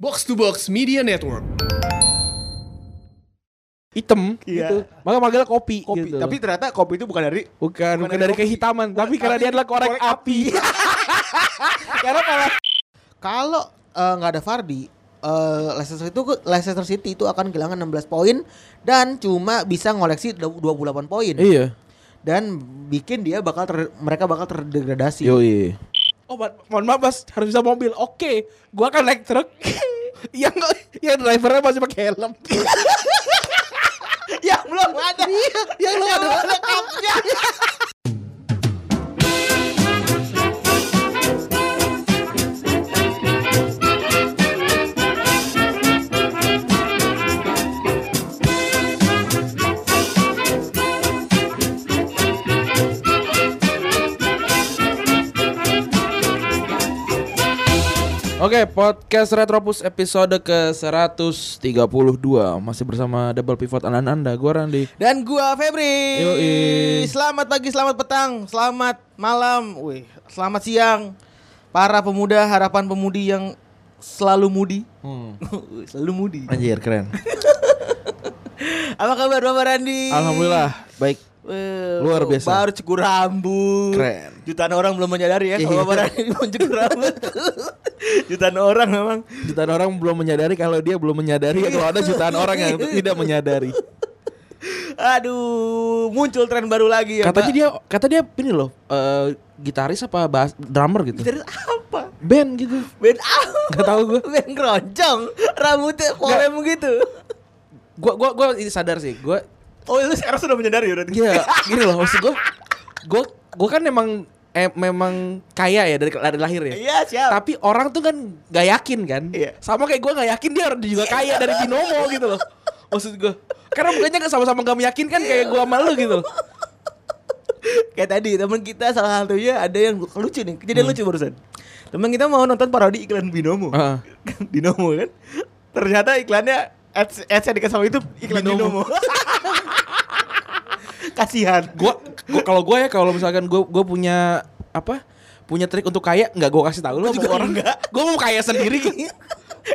Box to Box Media Network. hitam Iya. gitu. Maka manggilnya kopi, kopi. gitu. Tapi ternyata kopi itu bukan dari bukan bukan dari kopi. kehitaman, Bukan, tapi karena tapi dia adalah korek, korek api. karena malah Kalau eh, nggak ada Fardi, eh, Leicester itu Leicester City itu akan kehilangan 16 poin dan cuma bisa ngoleksi 28 poin Iya. dan bikin dia bakal ter- mereka bakal terdegradasi. iya. Oh, ma- mohon maaf Mas, harus bisa mobil. Oke, gua akan naik truk. yang yang drivernya masih pakai helm. yang belum ada. yang belum ada cupnya. Oke, podcast Retropus episode ke-132 masih bersama Double Pivot anak Anda, gua Randi. Dan gua Febri. Yoi. Selamat pagi, selamat petang, selamat malam, wih, selamat siang. Para pemuda harapan pemudi yang selalu mudi. Hmm. selalu mudi. Eh. Anjir, keren. Apa kabar Bapak Randi? Alhamdulillah, baik. Eh, Luar lu biasa. Baru cukur rambut. Keren. Jutaan orang belum menyadari ya Iya. kalau Bapak Randi mau cukur rambut. Jutaan orang memang. Jutaan orang belum menyadari kalau dia belum menyadari kalau ada jutaan orang yang tidak menyadari. Aduh, muncul tren baru lagi ya. katanya Mbak. dia kata dia ini loh eh, gitaris apa bass drummer gitu Dari apa? band gitu Ben apa? Nggak tahu gua. Ben keroncong, rambutnya polem gitu. gua gua gua ini sadar sih gua Oh, lu sekarang sudah menyadari ya berarti. gini, gini loh maksud gua gua gua kan memang eh, memang kaya ya dari, dari lahir ya Iya, siap. tapi orang tuh kan gak yakin kan Iya. sama kayak gua gak yakin dia orang juga kaya dari binomo gitu loh maksud gua karena mukanya gak sama-sama gak meyakinkan kayak gua sama lu gitu loh Kayak tadi teman kita salah satunya ada yang lucu nih. Hmm. Kejadian lucu barusan. Teman kita mau nonton parodi iklan Binomo. Heeh. Binomo kan. Ternyata iklannya ads ads yang dikasih sama itu iklan Binomo. Binomo. Kasihan. gua, gua- kalau gua ya kalau misalkan gua gua punya apa punya trik untuk kaya nggak gua kasih tahu lu juga sama orang enggak. gua mau kaya sendiri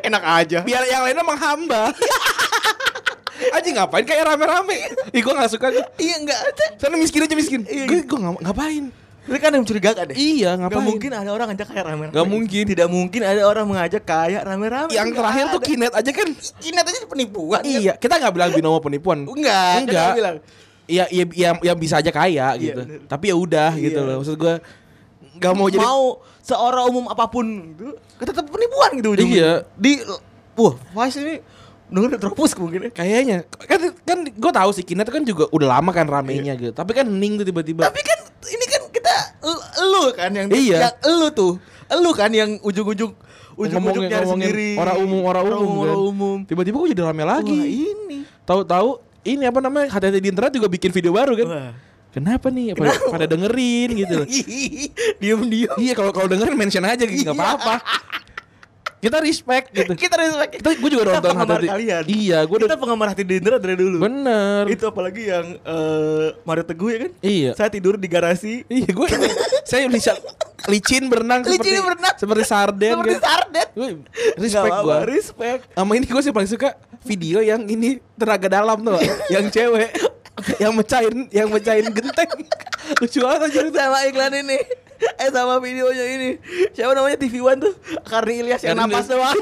enak aja. biar yang lainnya menghamba Aji ngapain kayak rame-rame Ih gua gak suka Iya enggak. Sana miskin aja miskin Iya, Gue gua nggak- ngapain Ini kan yang mencurigakan deh. Iya ngapain Gak mungkin ada orang ngajak kayak rame-rame. Nggak mungkin. Tidak mungkin ada orang mengajak kayak rame-rame. Yang Nggak terakhir tuh ada. kinet aja kan Kinet aja penipuan. kan? Iya kita gak bilang binomo penipuan Enggak, kan Enggak aku bilang. Iya, Iya ya, yang, yang bisa aja kaya gitu bener. Tapi ya udah gitu Iya. loh Maksud gua Gak mau jadi mau seorang umum apapun gitu tetap penipuan gitu ujungnya. Iya. di wah Vice ini denger terpus mungkin ya. Kayaknya kan kan gue tahu sih Kinet kan juga udah lama kan ramenya gitu. Tapi kan hening tuh tiba-tiba. Iya. tapi kan ini kan kita el- elu kan yang Iya. yang elu tuh elu kan yang ujung-ujung ujung-ujung Ngomongin- nyari ngomongin sendiri orang umum, orang umum. kan. orang umum. Tiba-tiba gue jadi rame lagi. Wah, iya. ini Tahu-tahu ini apa namanya? Hati-hati di internet juga bikin video baru kan. Wah. Kenapa nih? Apa, pada dengerin gitu. Iya. diem-diem iya, kalau kalau dengerin mention aja gitu, nggak Iya. apa-apa. Kita respect gitu. kita respect Kita gue juga nonton penggemar hati-hati. kalian Iya, gue kita udah penggemar hati di internet dari dulu bener. itu apalagi yang eh, Mario Teguh ya kan Iya. saya tidur di garasi Iya, gue saya bisa licin berenang Licin seperti berenang. seperti sarden seperti kan. sardet Gue Nggak respect apa-apa, gue. respect Sama ini gue sih paling suka video yang ini tenaga dalam tuh, yang cewek yang mecahin yang mecahin genteng. Lucu banget anjir itu. sama iklan ini eh sama videonya ini siapa namanya TV One tuh Karni Ilyas yang Karni napas Ilyas. doang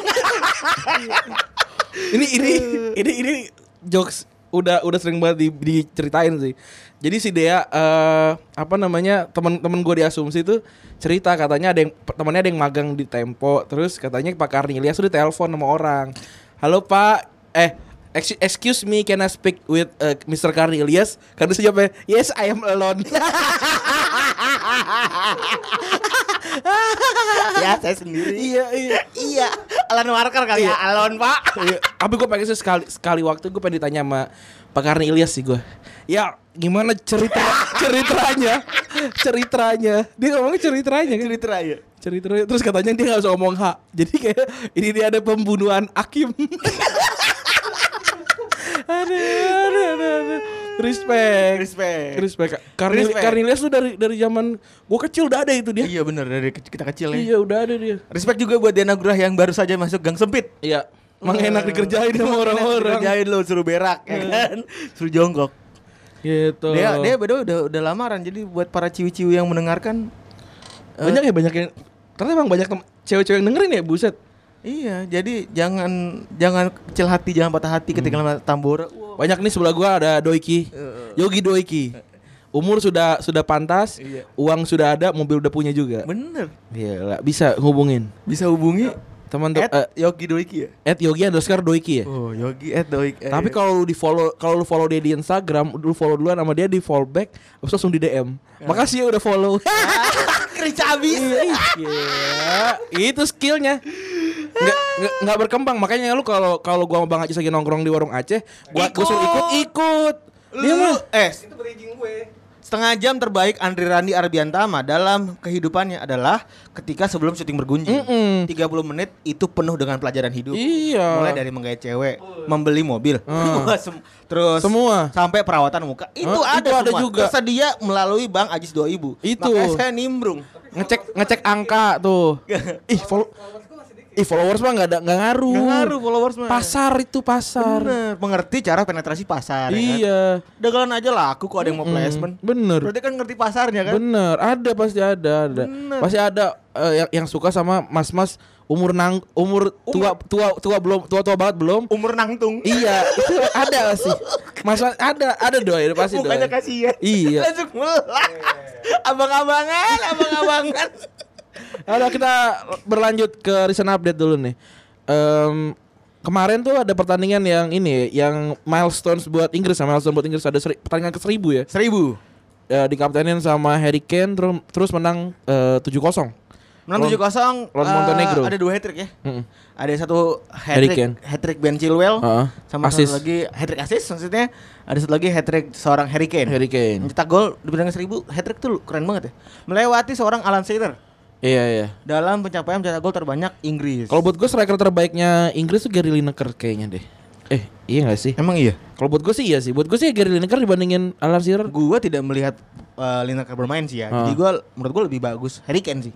Ini ini ini ini jokes udah udah sering banget di- diceritain sih. Jadi si Dea eh, apa namanya teman-teman gue di asumsi itu cerita katanya ada yang temannya ada yang magang di Tempo terus katanya Pak Karnilias tuh ditelepon sama orang. Halo Pak, eh ex- excuse me can I speak with eh, Mr. Karnilias? Karena saya jawabnya yes I am alone. ya saya sendiri iya iya. iya Alan Walker kali ya Alon pak Iya, tapi gue pengen sih sekali sekali waktu gue pengen ditanya sama Pak Karni Ilyas sih gue. Ya gimana cerita ceritanya ceritanya dia ngomongnya ceritanya kan cerita ya cerita terus katanya dia nggak usah ngomong hak jadi kayak ini dia ada pembunuhan Akim. ada ada ada ada. Respect. Respect. Respect. Karnil Respect. Karnilias tuh dari dari zaman gua kecil udah ada itu dia. Iya bener dari ke- kita kecil ya. Iya, udah ada dia. Respect juga buat Diana Grah yang baru saja masuk gang sempit. Iya. Emang enak dikerjain sama orang-orang. Kerjain lo suruh berak Iya. ya kan. Suruh jonggok. Gitu. Dia dia by the way udah udah lamaran jadi buat para ciwi-ciwi yang mendengarkan banyak ya banyak yang ternyata emang banyak tem- cewek-cewek yang dengerin ya, buset. Iya, jadi jangan jangan kecil hati, jangan patah hati ketika Hmm. lama tambora. Wow. Banyak nih sebelah gua ada Doiki. Yogi Doiki. Umur sudah sudah pantas, Iya. uang sudah ada, mobil udah punya juga. Bener. Gila, bisa hubungin. Bisa hubungi Teman tuh at eh, Yogi Doiki ya. at Yogi underscore Doiki ya. Oh, Yogi at Doiki. eh, Tapi kalau lu di follow kalau lu follow dia di Instagram, lu follow duluan sama dia di follow back, terus langsung di DM. Makasih ya udah follow. kerja Ah, habis. Iya, itu skillnya. Nggak, nggak, nggak berkembang makanya lu kalau kalau gua sama Bang Acis lagi nongkrong di warung Aceh, gua gua suruh ikut ikut. Dia Lu Iya, mah eh Setengah jam terbaik Andri Randi Arbiantama dalam kehidupannya adalah ketika sebelum syuting bergunjing. Mm-mm. 30 menit itu penuh dengan pelajaran hidup. Iya. Mulai dari menggaya cewek, membeli mobil, sem- Ah. terus Semua. sampai perawatan muka. Itu Hah? ada Itu ada semua. juga. Tersedia melalui Bang Ajis 2000. Itu. Makanya saya nimbrung. ngecek ngecek angka tuh. Ih, follow Ih, followers mah nggak ada nggak ngaruh. Nggak ngaruh followers mah. Pasar itu pasar. Bener, mengerti cara penetrasi pasar ya kan? Iya. Dagelan aja laku kok ada yang mau Mm-mm. placement. Bener. Berarti kan ngerti pasarnya kan? Bener, ada pasti ada, ada. Bener. Pasti ada eh, yang, yang suka sama mas-mas umur nang umur, tua tua tua belum tua tua banget belum. Umur nangtung. iya, itu ada pasti. Mas ada ada doy, ada pasti doy. Bukannya kasihan. Iya. Langsung melas. Abang-abangan, abang-abangan. Ada kita berlanjut ke recent update dulu nih. Em, kemarin tuh ada pertandingan yang ini, yang milestones buat Inggris, ya, milestone buat Inggris ada seri- pertandingan ke seribu ya. Seribu. Eh, dikaptenin sama Harry Kane terus, terus menang eh, 7-0. Menang Lawan- tujuh kosong. eh, lawan Montenegro. Ada dua hat trick ya. Mm-mm. Ada satu hat Harry trick, Kane. hat trick Ben Chilwell. Heeh. Sama Assist. satu lagi hat trick assist maksudnya. Ada satu lagi hat trick seorang Harry Kane. Harry Kane. Mencetak gol di pertandingan seribu hat trick tuh keren banget ya. Melewati seorang Alan Shearer Iya, iya. dalam pencapaian mencetak gol terbanyak Inggris. Kalau buat gue striker terbaiknya Inggris tuh Gary Lineker kayaknya deh. Eh, iya gak sih? Emang iya. Kalau buat gue sih iya sih. Buat gue sih Gary Lineker dibandingin Alan Shearer. Gua tidak melihat uh, Lineker bermain sih ya. Ah. Jadi gua menurut gua lebih bagus Harry Kane sih.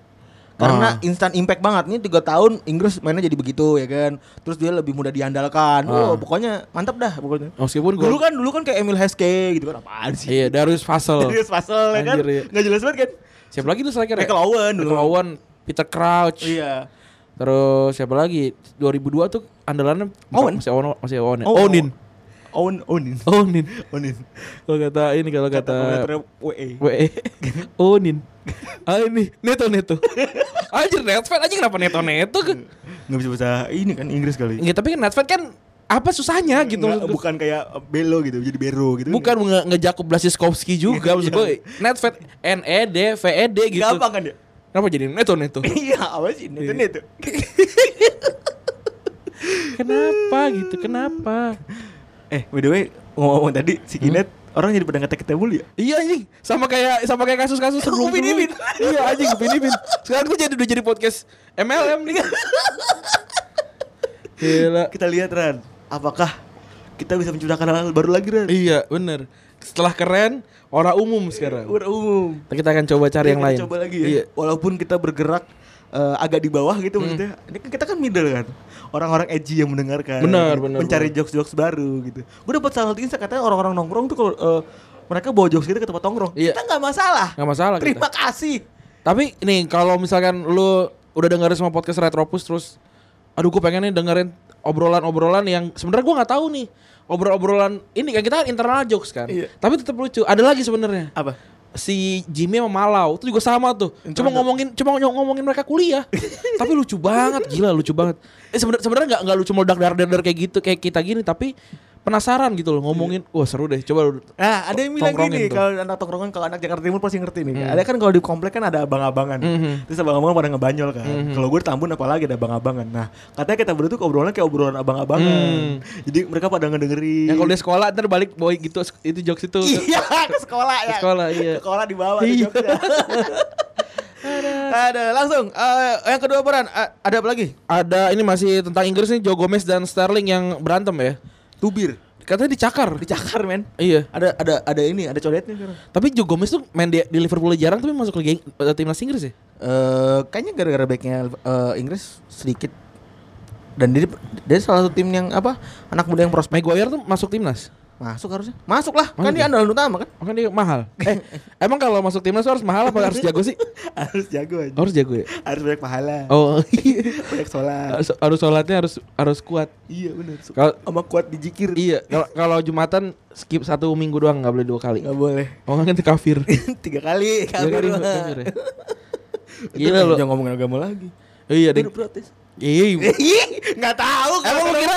Karena Ah. instant impact banget nih tiga tahun Inggris mainnya jadi begitu ya kan. Terus dia lebih mudah diandalkan. Ah. Oh, Oh, pokoknya mantap dah pokoknya. Meskipun gue Dulu kan dulu kan kayak Emil Heskey gitu kan apaan sih? Iya, Darius Vassell. Serius Fasel ya kan? Anjir, iya. Nggak jelas banget kan? Siapa lagi tuh striker? ya? Michael Owen dulu. Michael Owen, Peter Crouch. Iya. Terus siapa lagi? 2002 tuh andalannya Owen. Oh, masih Owen masih Owen. ya? Owen. Onin. Owen Onin. Onin. Onin. Kalau kata ini kalau kata Komentarnya WE. WE Onin. Ah ini Neto Neto. Anjir Netfan aja kenapa Neto Neto? ke- Nggak bisa bahasa ini kan Inggris kali. Nggak, tapi kan Netfan kan apa susahnya gitu Nggak, maksud gua. bukan kayak Belo gitu, jadi Bero gitu. Bukan nge ngejakup Blasikowski juga maksud Iya. gue. Netfan N E D V E D gitu. Gampang kan dia? Kenapa jadi Neto Neto? Iya, apa sih? Itu itu. kenapa gitu? Kenapa? Eh, by the way, ngomong-ngomong tadi si Kinet orang jadi pada ngetek kita mulu ya. Iya anjing, sama kayak sama kayak kasus-kasus sebelum Upin Ipin. Iya anjing Upin Ipin. Sekarang gue jadi udah jadi podcast MLM nih. Gila. Kita lihat Ran, apakah kita bisa menciptakan hal baru lagi Ran? Iya, bener. Setelah keren, orang umum sekarang. Ur umum. Kita akan coba cari yang Kita lain. Coba lagi ya. Iya. Walaupun kita bergerak eh, agak di bawah gitu maksudnya. Ini kan kita kan middle kan. Orang-orang edgy yang mendengarkan. Benar, benar, Mencari jokes-jokes baru gitu. Gue dapat salah satu insight katanya orang-orang nongkrong tuh kalau eh, mereka bawa jokes kita ke tempat nongkrong. Iya. Kita nggak masalah. Nggak masalah kita. Terima kasih. Tapi nih kalau misalkan lu udah dengerin semua podcast Retropus terus aduh gue pengen nih dengerin obrolan-obrolan yang sebenarnya gue nggak tahu nih obrol-obrolan ini kan kita internal jokes kan Iya. tapi tetap lucu ada lagi sebenarnya Apa? si Jimmy sama Malau itu juga sama tuh. Internet. Cuma ngomongin cuma nyong- ngomongin mereka kuliah. Tapi lucu banget, gila lucu banget. Eh sebenar- sebenarnya nggak nggak lucu meledak dar dar kayak gitu kayak kita gini tapi penasaran gitu loh ngomongin. Iya. Wah, seru deh. Coba lu- Nah, ada yang bilang Tongkrongin gini tuh. kalau anak tongkrongan kalau anak Jakarta Timur pasti ngerti nih. Ada kan kalau di komplek kan ada abang-abangan. Terus abang-abangan pada ngebanyol kan. Kalau gue di Tambun apalagi ada abang-abangan. Nah, katanya kita berdua tuh obrolan kayak obrolan abang-abangan. Jadi mereka pada ngedengerin. yang kalau dia sekolah ntar balik boy gitu itu jokes itu. Iya, ke sekolah ya. Ke sekolah, iya. Ke sekolah dibawa Iya. di Jogja. ada langsung eh, yang kedua peran eh, ada apa lagi? Ada ini masih tentang Inggris nih Joe Gomez dan Sterling yang berantem ya. Tubir. katanya dicakar. Dicakar men. Iya. Ada ada ada ini, ada coletnya sekarang. Tapi Joe Gomez tuh main di, di Liverpool jarang tapi masuk Liga Ing- eh, timnas Inggris ya. Eh, kayaknya gara-gara backnya eh, Inggris sedikit dan dia dia salah satu tim yang apa anak muda yang prospek Maguire tuh masuk timnas. masuk harusnya masuk lah Masuk kan dia ya? andalan utama kan Makanya dia mahal. Eh, emang kalau masuk timnas tuh harus mahal apa harus jago sih? harus jago aja Harus jago ya. harus banyak pahala Oh. banyak sholat harus, harus sholatnya harus harus kuat. iya benar Kalau sama kuat dijikir iya, kalau kalau Jumatan skip satu minggu doang nggak boleh dua kali. nggak boleh Oh kan nanti kafir. tiga kali Tiga kali kabur kafir ya. Gila gila lu. lo jangan ngomongin agama lagi Iya, deng. protes Iya. nggak tahu Emang lu kira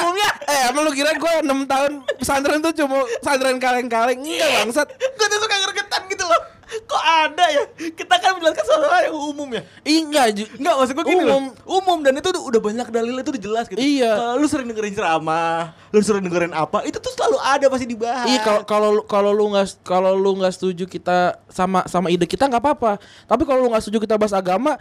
Eh, emang lu kira gue 6 tahun pesantren tuh cuma pesantren kaleng-kaleng Enggak bangsat gue tuh suka ngergetan gitu loh kok ada ya kita kan menjelaskan sesuatu yang umum ya Ih, Enggak Ju. Enggak maksud gue gini Umum. loh Umum dan itu udah, udah banyak dalilnya itu udah jelas gitu Iya. Eh, Lu sering dengerin ceramah Lu sering dengerin apa Itu tuh selalu ada pasti dibahas Iya kalau kalau lu- kalau lu nggak kalau lu nggak setuju kita sama sama ide kita nggak apa-apa. Tapi kalau lu nggak setuju kita bahas agama,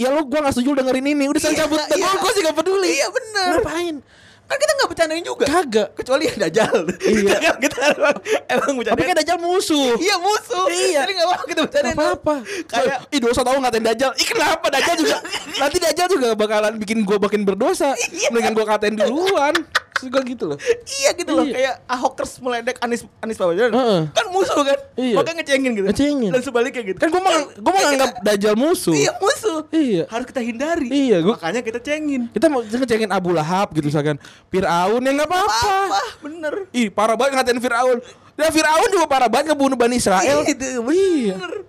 ya lu gua nggak setuju dengerin ini. Udah saya Iya, cabut. iya. Gua gua sih nggak peduli. Iya, bener. Ngapain? Kan kita gak bercandain juga Kagak. Kecuali yang dajal Iya. Kita- Kita emang, emang bercandain Tapi kan Dajjal musuh. Iya musuh Iya. Jadi gak apa-apa kita bercandain Nggak apa-apa. Kayak Ih dosa tau ngatain Dajjal. Ih kenapa Dajjal juga? Nanti Dajjal juga bakalan bikin gua makin berdosa. Mendingan gua katain duluan. Terus gua gitu loh. Iya gitu loh Iya. Kayak ahokers meledek Anis Anis Baswedan Heeh. Kan musuh kan Iya. Makanya ngecengin gitu Ngecengin. Dan sebaliknya gitu Kan gua mau gua mau nganggap Dajjal musuh. Iya musuh Iya. Harus kita hindari Iya, gua- Makanya kita cengin Kita mau ngecengin Abu Lahab gitu misalkan. Firaun ya nggak apa-apa. Apa bener Ih parah banget ngatain Fir'aun Ya Fir'aun juga parah banget ngebunuh Bani Israel Itu Iya, Iya. bener.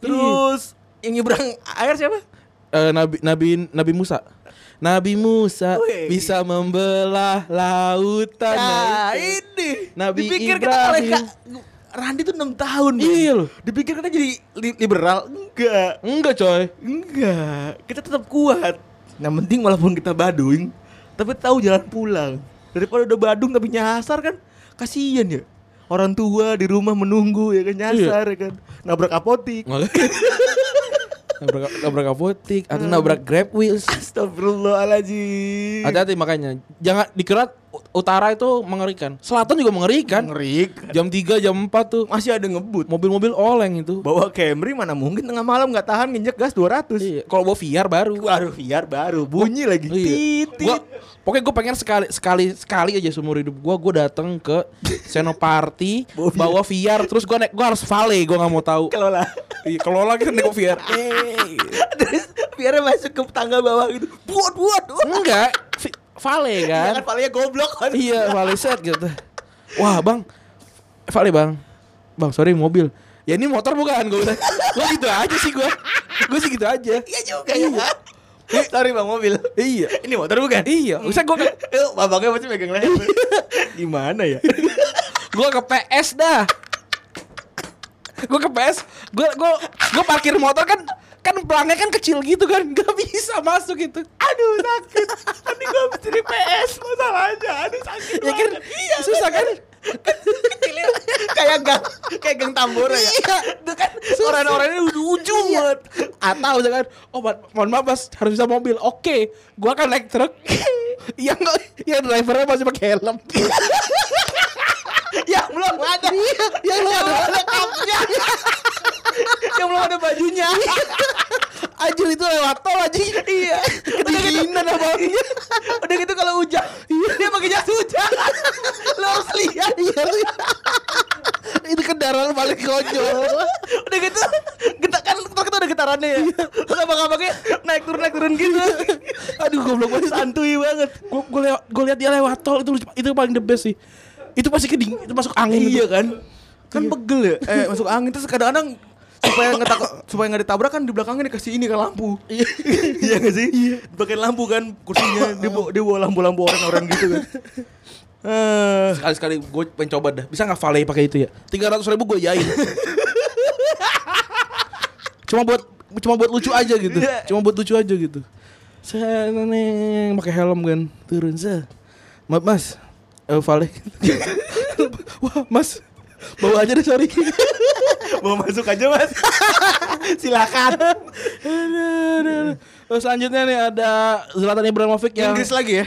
Terus yang nyebrang air siapa? Eh, Nabi, Nabi, Nabi Musa Nabi Musa Wih. bisa membelah lautan Nah, Nah, itu. ini. Nabi Dipikir Ibrahim. kita mereka Randi tuh 6 tahun. men. Iya loh. Dipikir kita jadi li- liberal? Enggak. Enggak coy Enggak. Kita tetap kuat. Yang penting walaupun kita badung, tapi tahu jalan pulang. Daripada udah badung tapi nyasar kan. Kasihan ya. Orang tua di rumah menunggu ya kan Iya. nyasar ya kan. Nabrak apotik. nabrak, nabrak apotik Atau nabrak grab wheels Astagfirullahaladzim. Hati-hati makanya Jangan dikira ut- utara itu mengerikan Selatan juga mengerikan Ngerik. Jam 3, jam 4 tuh Masih ada ngebut. Mobil-mobil oleng itu Bawa Camry mana mungkin tengah malam nggak tahan nginjek gas 200. Iya. Kalau bawa VR baru Waduh, biar baru bunyi lagi. Iya. Titit. Gua, pokoknya gue pengen sekali sekali sekali aja seumur hidup gue gue datang ke senoparty Bawa VR. bawa VR terus gue naik gue harus vale gue nggak mau tahu Kalau lah. Iya, kalau lagi kan naik VR Eh. Terus biarnya masuk ke tangga bawah gitu. Buat buat. buat. enggak vi- vale Hmm, kan Jangan palanya goblok kan. iya vale set gitu wah bang vale bang bang sorry mobil ya ini motor bukan gue bilang gue gitu aja sih gue gue sih gitu aja Iya juga ya. Eh, Sorry bang mobil. iya Ini motor bukan? iya bisa gue Eh, Abangnya masih megang leher. Gimana ya? Gue ke PS dah. Gue ke PS, gue gue gue parkir motor kan kan pelangnya kan kecil gitu kan, gak bisa masuk gitu. Aduh sakit. Ini gue habis dari Iya, PS masalahnya. Aduh sakit. Ya kan, banget. susah kan? Kecilnya kayak gang kayak gang tambora ya. Iya. Itu kan Iya. orang-orangnya udah ujung banget. Atau misalkan, oh ma- mohon maaf mas, harus bisa mobil. Oke, gue akan naik truk. yang nggak- yang drivernya masih pakai helm. Yang belum ada. yang lu ada Kapnya. Iya. Yang belum ada bajunya. Anjir itu lewat tol anjing. Iya. Kedinginan abangnya. Udah gitu kalau hujan, dia pakai jas hujan. Lo harus lihat. Iya. itu kendaraan paling konyol. Udah gitu getak kan kita udah getarannya ya. Iya. Terus abang-abangnya naik turun naik turun gitu. Aduh goblok banget Santuy banget. Gue gue lewat gue lihat dia lewat tol itu lucu- itu paling the best sih. Itu pasti keding itu masuk angin gitu. Iya itu. kan? Kan pegel ya. Eh masuk angin terus kadang-kadang supaya nggak tak- supaya nggak ditabrak kan di belakangnya dikasih ini kan lampu. Iya. Iya nggak sih? Iya. Pakai lampu kan kursinya dia bawa, dia bawa lampu-lampu orang-orang gitu kan. Eh, Sekali sekali gue pengen coba dah. Bisa nggak Vale pakai itu ya? Tiga ratus ribu gue yain. cuma buat cuma buat lucu aja gitu. Iya. Cuma buat lucu aja gitu. Saya nih pakai helm kan turun saya. Maaf mas, eh, Vale. Wah mas, bawa aja deh sorry. mau masuk aja mas. Silakan. Aduh, aduh, aduh. Selanjutnya nih ada Zlatan Ibrahimovic yang Inggris lagi ya.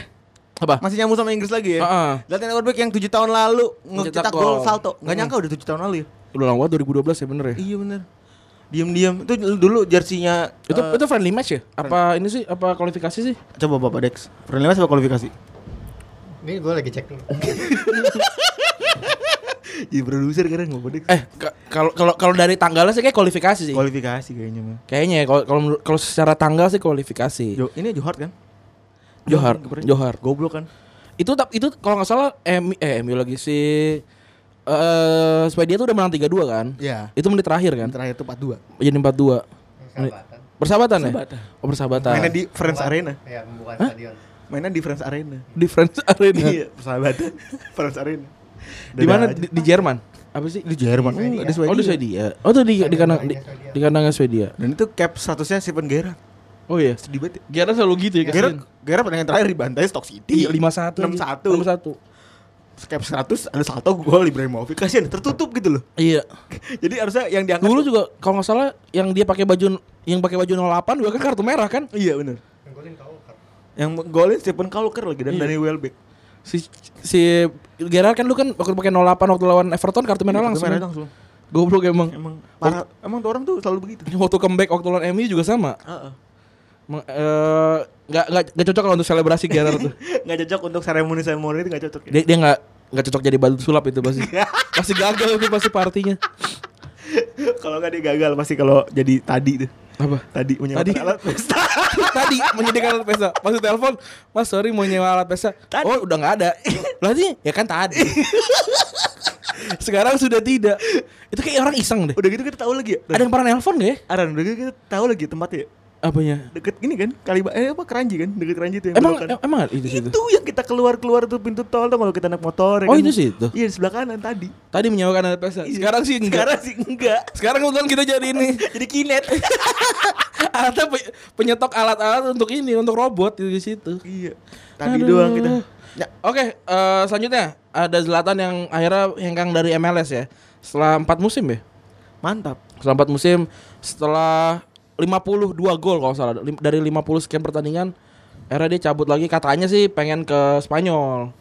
Apa? Masih nyambung sama Inggris lagi ya. Heeh. Latin Overbeck yang 7 tahun lalu Mencetak ngecetak gol gol. salto. Mm. Gak nyangka udah 7 tahun lalu ya. Udah lama banget 2012 ya bener ya. Iya bener. Diam-diam. Itu dulu jersinya Itu eh, itu friendly match ya? Apa ini sih apa kualifikasi sih? coba Bapak Dex. Friendly match apa kualifikasi? Ini gue lagi cek dulu. Jadi produser keren Bapak Dex. Eh ka- kalau kalau kalau dari tanggalnya sih kayak kualifikasi sih. Eh, Kualifikasi kayaknya mah. Kayaknya ya, kalau kalau menurut- kalau secara tanggal sih kualifikasi. Jo, ini Johar kan? Johar, kemarin. Johar. Goblok kan? Itu tap- itu kalau nggak salah M eh MU lagi si eh Swedia tuh udah menang 3-2 kan? Iya. Itu menit terakhir kan? Yang terakhir tuh 4-2. Jadi 4-2. Persahabatan. Persahabatan, ya? Oh, persahabatan. Mainnya di Friends Arena. Ya, pembukaan stadion. Mainnya di Friends Arena. di France Arena. Iya, persahabatan Friends Arena. di mana? Dadah aja. Di, di Jerman. Apa sih? Di Jerman. Swedia. Oh, di Swedia. Oh, di Swedia. Oh, tuh di di kandang di, di kandangnya Swedia. Dan itu cap statusnya Steven Gerrard. Oh iya. Sedih banget. ya. Iya. Gerard selalu gitu ya Iya, Gerrard Gerrard pertandingan terakhir dibantai Stock City. 51 61. 61. Cap 100 ada salto gol Ibrahimovic. Kasihan tertutup gitu loh. Iya. Jadi harusnya yang diangkat Dulu juga kalau nggak salah yang dia pakai baju yang pakai baju 08 juga kan kartu merah kan? Iya benar. Yang golin kau Kak. Yang golin Stephen Kalker lagi dan Danny Welbeck. Si si Gerard kan lu kan waktu pakai 08 waktu lawan Everton kartu merah Iya, Kartu langsung. merah kan? langsung. Goblok emang. Emang parah. Emang tuh orang tuh selalu begitu. Waktu comeback waktu lawan MU juga sama. Heeh. Emang, eh, Nggak nggak nggak cocok kalau untuk selebrasi Gerard tuh. Nggak cocok untuk seremoni seremoni itu nggak cocok. Ya. Dia dia nggak nggak cocok jadi batu sulap itu pasti. pasti gagal itu pasti partinya. kalau nggak dia gagal pasti kalau jadi tadi tuh. Apa? Tadi menyelamatkan Tadi. alat pesta. tadi menyediakan alat pesta masuk telepon mas sorry mau nyewa alat pesta Tadi. oh udah nggak ada berarti ya kan tadi sekarang sudah tidak itu kayak orang iseng deh Udah gitu kita tahu lagi ya. ada yang pernah nelpon gak ya Aran udah gitu kita tahu lagi tempatnya. ya. apanya Deket gini kan? Kali eh apa keranji kan? Deket keranji tuh yang emang belokan. em- emang ada itu situ itu yang kita keluar-keluar tuh pintu tol tuh kalau kita naik motor. ya Oh, kan? itu situ? Iya di sebelah kanan tadi. tadi menyewakan alat pesta sekarang sih Sekarang enggak sih enggak. sekarang kebetulan kita jadi ini Jadi kinet. alatnya pe- penyetok alat-alat untuk ini untuk robot itu di situ iya. Tadi Aduh. doang kita. Ya, Oke, eh, selanjutnya ada Zlatan yang akhirnya hengkang dari MLS ya. Setelah 4 musim ya. Mantap. Selama 4 musim setelah 52 gol kalau nggak salah Lim- dari 50 sekian pertandingan era dia cabut lagi katanya sih pengen ke Spanyol.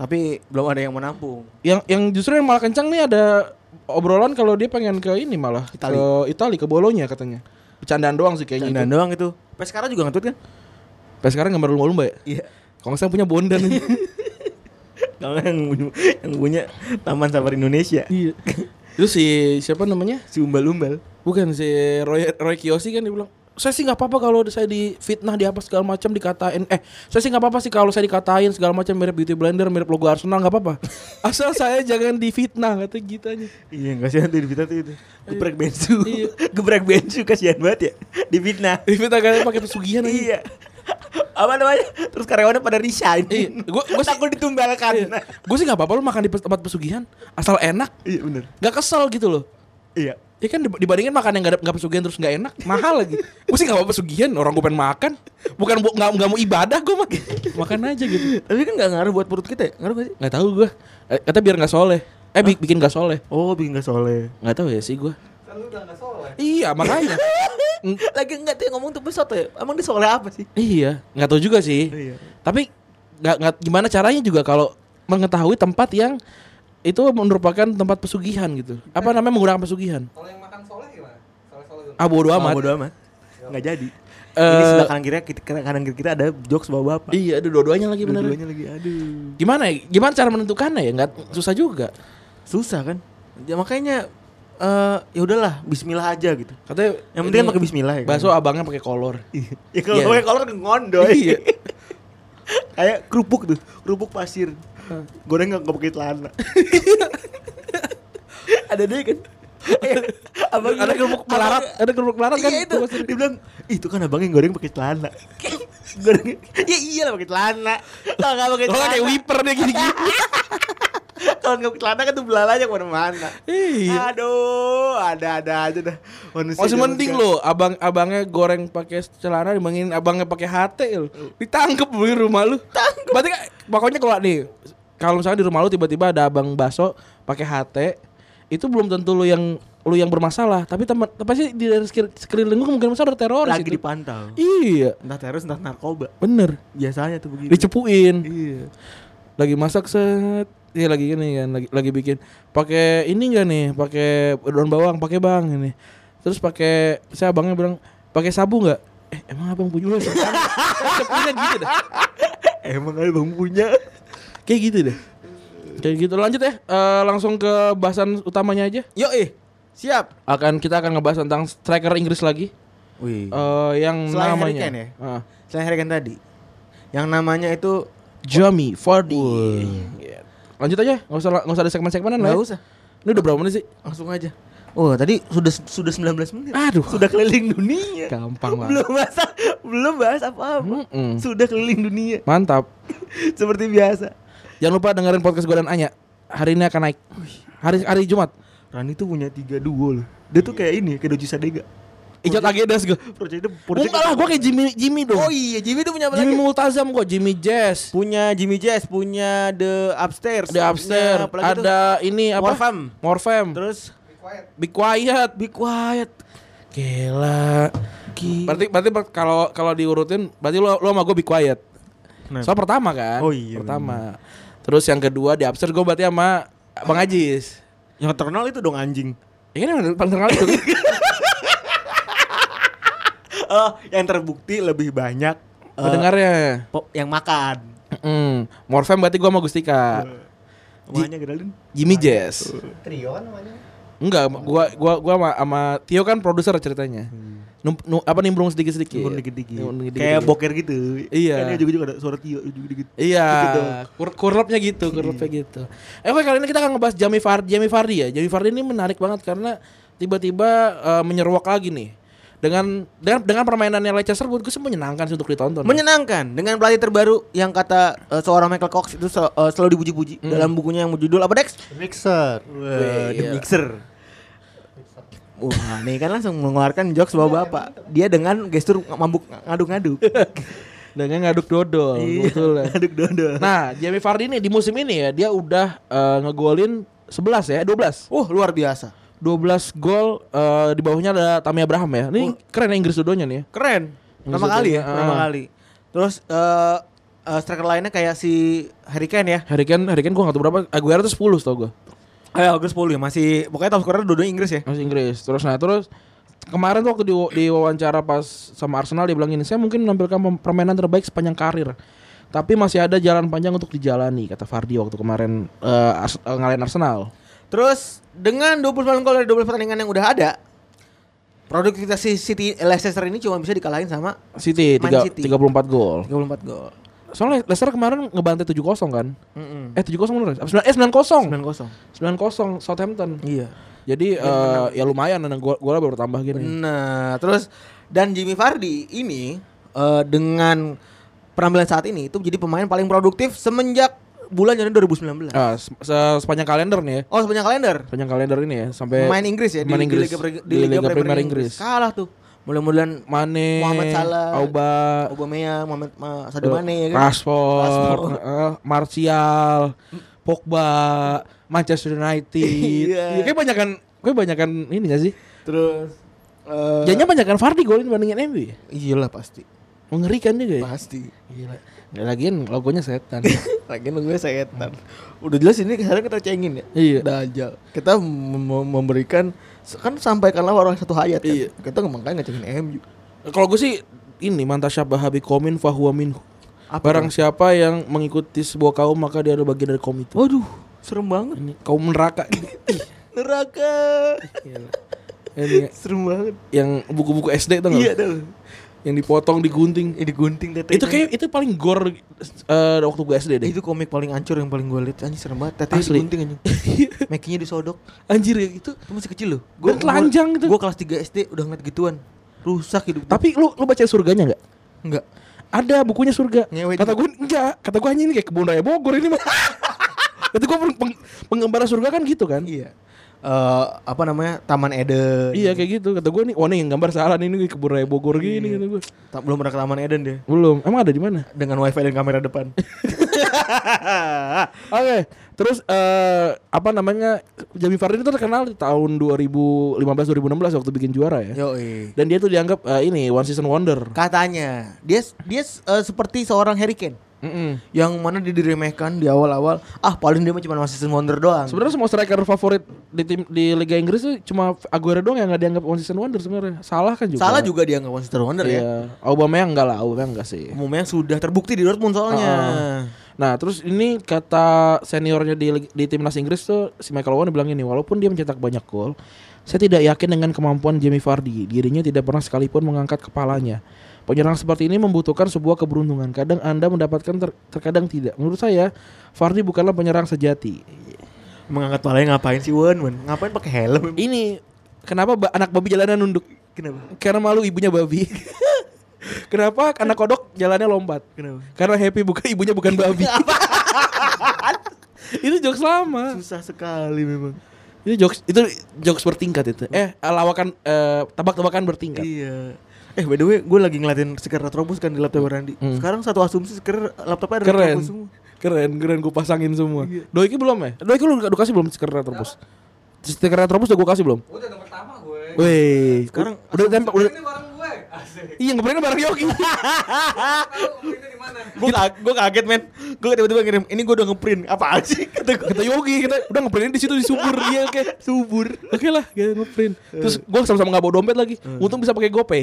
Tapi belum ada yang menampung. Yang yang justru yang malah kencang nih ada obrolan kalau dia pengen ke ini malah Itali. ke Italia ke Bolonya katanya. Bercandaan doang sih kayaknya. Dan itu. doang itu. Pas sekarang juga ngetut kan? Sampai sekarang gambar lumba-lumba ya. Iya. Kalau nggak salah punya Bondan. Kalau yang punya, yang punya Taman Safari Indonesia. iya. Itu si siapa namanya? Si umbal-umbal. Bukan si Roy, Roy Kiyoshi kan dia bilang saya sih nggak apa-apa kalau saya difitnah di apa segala macam dikatain eh saya sih nggak apa-apa sih kalau saya dikatain segala macam mirip beauty blender mirip logo Arsenal nggak apa-apa asal saya jangan difitnah kata gitu gitanya Iya, kasihan tuh di fitnah tuh itu. Geprek bensu. Iya. Geprek bensu kasihan banget ya. Di fitnah. difitnah kan pakai pesugihan aja Iya. Apa namanya? Terus karyawannya pada resign. Iya, gua- gua sih- takut ditumbalkan. Nah. gue sih nggak apa-apa lo makan di pes- tempat pesugihan asal enak Iya bener. nggak kesel gitu loh Iya. Ya kan dib- dibandingin makan yang nggak ada- nggak pesugihan terus nggak enak mahal lagi gue sih nggak apa pesugihan orang gue pengen makan bukan bu- nggak nggak mau ibadah gue mah makan aja gitu Tapi kan gak ngaruh buat perut kita ya? Ngaruh gak sih? nggak tahu gue Eh, kata biar nggak soleh eh bi- bikin nggak soleh Oh bikin gak soleh nggak tahu ya sih gue Kan lu udah gak soleh. iya makanya Ng- Lagi enggak tuh yang ngomong tuh pesot ya Emang dia soleh apa sih? iya nggak tahu juga sih Iya. tapi nggak nggak gimana caranya juga kalau mengetahui tempat yang itu merupakan tempat pesugihan gitu apa namanya menggunakan pesugihan Eh. Kalau yang makan soleh gimana? Soleh-soleh dulu. ah bodo amat Oh, bodo amat Gak jadi Ini Eh, sebelah kanan kiri kita, kanan kiri kita ada jokes bapak-bapak iya aduh dua-duanya lagi bener Dua-duanya lagi aduh gimana ya gimana cara menentukannya ya nggak susah juga Susah kan? Ya makanya eh ya udahlah bismillah aja gitu katanya Yang penting kan ini pakai bismillah ya kan? bakso abangnya pakai kolor Ya kalau Iya. pakai kolor ngondoy Iya. Kayak kerupuk tuh Kerupuk pasir Goreng gak, gak pakai celana Ada deh kan Abang ada kerupuk melarat ada kerupuk melarat kan iya itu dibilang "Ih, itu kan abangnya goreng pakai celana goreng ya iyalah pakai celana Kalau nggak kalau nggak pakai kan kayak celana wiper dia gini-gini kalau nggak pakai celana kan tuh belalanya kemana-mana Iya. aduh ada ada aja dah manusia Masih zaman mending sekarang. lo abang abangnya goreng pakai celana dibandingin abangnya pakai HT lo. Ditangkep lu di rumah lu. Berarti kan pokoknya kalau nih kalau misalnya di rumah lu tiba-tiba ada abang baso pakai HT itu belum tentu lu yang lu yang bermasalah tapi teman pasti di dari sekir- sekeliling lu mungkin besar ada teroris lagi itu. dipantau iya entah teroris entah narkoba bener biasanya tuh begitu dicepuin iya lagi masak set ya lagi gini kan lagi lagi bikin pakai ini enggak nih pakai daun bawang pakai bang ini terus pakai saya abangnya bilang pakai sabu nggak eh emang abang punya lu sabu?" Cepuinnya gitu dah emang abang punya kayak gitu deh kayak gitu lanjut ya Eh, langsung ke bahasan utamanya aja yo eh siap akan kita akan ngebahas tentang striker Inggris lagi wih Eh, yang Selain Harry namanya Kane ya? Ah. selain Harry Kane tadi yang namanya itu Jamie Vardy Iya. lanjut aja nggak usah nggak usah ada segmen segmenan lah nggak ya. usah ini udah berapa menit sih langsung aja Oh tadi sudah sudah 19 menit Aduh. Sudah keliling dunia Gampang banget. Belum bahas Belum bahas apa-apa Mm-mm. Sudah keliling dunia mantap Seperti biasa jangan lupa dengerin podcast gue dan Anya hari ini akan naik hari hari Jumat Rani tuh punya tiga duo loh Dia tuh kayak ini Kayak Doji Sadega Ijat Agedas gue Project project Enggak lah gue kayak Jimmy Jimmy dong Oh iya, Jimmy tuh punya apa Jimmy lagi? Multazam gue Jimmy Jazz Punya Jimmy Jazz, punya The Upstairs. ada Upstairs Punya apa lagi tuh? ada ini apa Morfem. iya, Morfem Terus Be quiet. Be quiet Be Quiet. Gila. Berarti berarti per- kalau kalau diurutin berarti lo lo sama gue be quiet. Kenapa? So pertama kan? Nah. Oh iya, Pertama. Terus yang kedua di absurd gue berarti sama Bang Ajis. Yang terkenal itu dong anjing Ya kan yang paling terkenal itu. kan? Oh yang terbukti lebih banyak eh, Pendengarnya. pop- Yang makan Mm. Morfem berarti gue sama Gustika. Makanya Geraldine Iya. Jimmy Jazz. Trio kan namanya. Enggak, gua gua gua sama, sama Tio kan produser ceritanya. Num- nu- apa nimbrung sedikit-sedikit. Turun Hmm. dikit-dikit Nimbrung dikit-dikit. Kayak boker gitu Iya. Kan dia juga juga ada suara tio dikit-dikit Dikit Gitu dong. Iya. Iya, kur kurlopnya gitu, kurlopnya gitu. Eh, oke, kali ini kita akan ngebahas Jamie Vardy, Jamie Vardy ya. Jamie Vardy ini menarik banget karena tiba-tiba eh, menyeruak lagi nih. Dengan dengan dengan permainannya Leicester buat gue sih menyenangkan sih untuk ditonton. Menyenangkan dengan pelatih terbaru yang kata eh, seorang Michael Cox itu sel- eh, selalu dipuji-puji dalam bukunya yang berjudul apa Dex? Mixer. Wah, The Iya. Mixer Wah, nih kan langsung mengeluarkan jokes bapak-bapak. Dia dengan gestur ng- mabuk ng- ngaduk-ngaduk. Iya, dengan ngaduk dodol, Iya. betul ya. Aduk dodol Nah, Jamie Vardy ini di musim ini ya, dia udah eh, ngegolin 11 ya, 12. Wah, luar biasa. 12 gol eh, di bawahnya ada Tammy Abraham ya. Oh. Ini keren ya Inggris dodonya nih ya. Keren. Pertama Maksudnya, kali ya, ah. pertama kali. Terus eh eh, striker lainnya kayak si Harry Kane ya. Harry Kane, Harry Kane gue gak tau berapa, Aguero tuh 10 tau gue. Eh, Agus 10 ya, masih pokoknya top scorer dua-duanya Inggris ya. Mas Inggris. Terus nah terus kemarin tuh waktu di, di wawancara pas sama Arsenal dia bilang ini saya mungkin menampilkan pem- permainan terbaik sepanjang karir. Tapi masih ada jalan panjang untuk dijalani kata Fardi waktu kemarin eh, Ars- eh, ngalahin Arsenal. Terus dengan 29 gol dari 12 pertandingan yang udah ada, produktivitas si City eh, Leicester ini cuma bisa dikalahin sama City, Man tiga- City. 34 gol. 34 gol. Soalnya Leicester kemarin ngebantai 7-0 kan? Mm-mm. Eh 7-0 bener. Apa 9 eh 9-0. 9-0. 9-0 Southampton. Iya. Jadi eh, ya lumayan nendang gol golnya baru tambah gini. Nah, terus dan Jimmy Vardy ini eh, dengan penampilan saat ini itu jadi pemain paling produktif semenjak bulan Januari 2019. Ah, se- se- sepanjang kalender nih ya. Oh, sepanjang kalender. Sepanjang kalender ini ya sampai Pemain Inggris ya pemain Inggris. Liga, Pre- Di Liga Premier Inggris. Kalah tuh. Mudah-mudahan Mane, Mohamed Salah, Auba, Aubameyang, Mohamed Ma- Sadio Mane ya kan. Rashford, Rashford. eh, Martial, Pogba, Manchester United. Iya. Iya. kayak banyak kan, kayak banyak kan ini gak sih? Terus eh Jadinya banyak kan Vardy golin bandingin MU. ya? iyalah pasti. Mengerikan juga ya. Pasti. Gila. Ya, Lagian logonya setan. Lagian gue setan. Udah jelas ini sekarang kita cengin ya. Iya. Dajjal. Kita mem- mem- memberikan kan sampaikanlah orang satu hayat kan. Iya. Kita makanya ngecengin MU. Kalau gue sih ini mantasya bahabi komin fahuwa minhu. Apa Barang siapa yang mengikuti sebuah kaum maka dia adalah bagian dari kaum itu. Waduh, serem banget. Ini kaum neraka. Iya. Neraka. ini serem banget. yang buku-buku SD tuh Iya nggak? dah. Yang dipotong, digunting. Ini digunting tetenya. itu kayak itu paling gore eh, waktu gue SD deh. itu komik paling ancur yang paling gue lihat anjing serem banget tetenya Asli. digunting anjing makinya disodok Anjir ya itu. itu masih kecil loh Dan telanjang gitu. gue kelas 3 SD udah ngeliat gituan rusak hidup Tapi lu lu baca surganya nggak? enggak Ada bukunya surga. Ngewe kata juga. gue enggak. Kata gue hanya ini kayak kebun raya Bogor ini mah. Itu gue peng- peng- pengembara surga kan gitu kan? iya Eh apa namanya Taman Eden Iya kayak gitu. Kata gue nih, wah nih yang gambar salah nih ini kayak kebun raya Bogor Iya. gini kata gue. Ta- belum pernah ke Taman Eden deh Belum. Emang ada di mana? dengan wifi dan kamera depan Oke. Terus eh apa namanya Jamie Vardy itu terkenal di tahun 2015 2016 waktu bikin juara ya. Yoi. Dan dia tuh dianggap eh, ini one season wonder. Katanya dia dia eh, seperti seorang Harry Kane Mm-mm. yang mana dia diremehkan di awal-awal. Ah, paling dia mah cuma masih season wonder doang. Sebenarnya semua striker favorit di tim di Liga Inggris tuh cuma Aguero doang yang nggak dianggap one season wonder sebenarnya. Salah kan juga. salah juga dia nggak season wonder ya. Iya. Aubameyang enggak lah, Aubameyang enggak sih. Umumnya sudah terbukti di Dortmund soalnya. Ah, Heeh. Nah, terus ini kata seniornya di, lig- di timnas Inggris tuh si Michael Owen bilang ini, walaupun dia mencetak banyak gol, saya tidak yakin dengan kemampuan Jamie Vardy. Dirinya tidak pernah sekalipun mengangkat kepalanya. Penyerang seperti ini membutuhkan sebuah keberuntungan. Kadang Anda mendapatkan ter- terkadang tidak. Menurut saya, Vardy bukanlah penyerang sejati. Mengangkat palanya ngapain sih Wan? Wan? Ngapain pakai Iya. helm? Ini kenapa ba- anak babi jalanan nunduk? Kenapa? Karena malu ibunya babi. kenapa anak kodok jalannya lompat? Kenapa? Karena happy bukan ibunya bukan babi. itu jokes lama. Susah sekali memang. Itu jokes itu jokes bertingkat itu. Eh lawakan eh, tabak-tabakan bertingkat. Iya. Eh by the way, gue lagi ngeliatin stiker Retrobus kan di laptop Randy. Hmm. Sekarang satu asumsi stiker laptopnya ada Keren. Retrobus semua. Keren, keren gue pasangin semua. Doi Doiki belum ya? Doiki lu udah kasih belum stiker Retrobus? Stiker Retrobus udah gue kasih belum? Udah nomor pertama gue. Weh, Sekarang udah tempel udah Ini barang gue. Asik. Iya, ngeprintnya bareng Yogi. Tahu belinya di mana? Gue gue kaget men. Gue tiba-tiba ngirim, ini gue udah ngeprint. Apa sih? Kata gue. kita Yogi, kita udah ngeprintnya di situ di subur. Iya, oke. Subur. Oke lah, gue ngeprint. Eh. Terus gue sama-sama nggak bawa dompet lagi. Untung bisa pakai GoPay.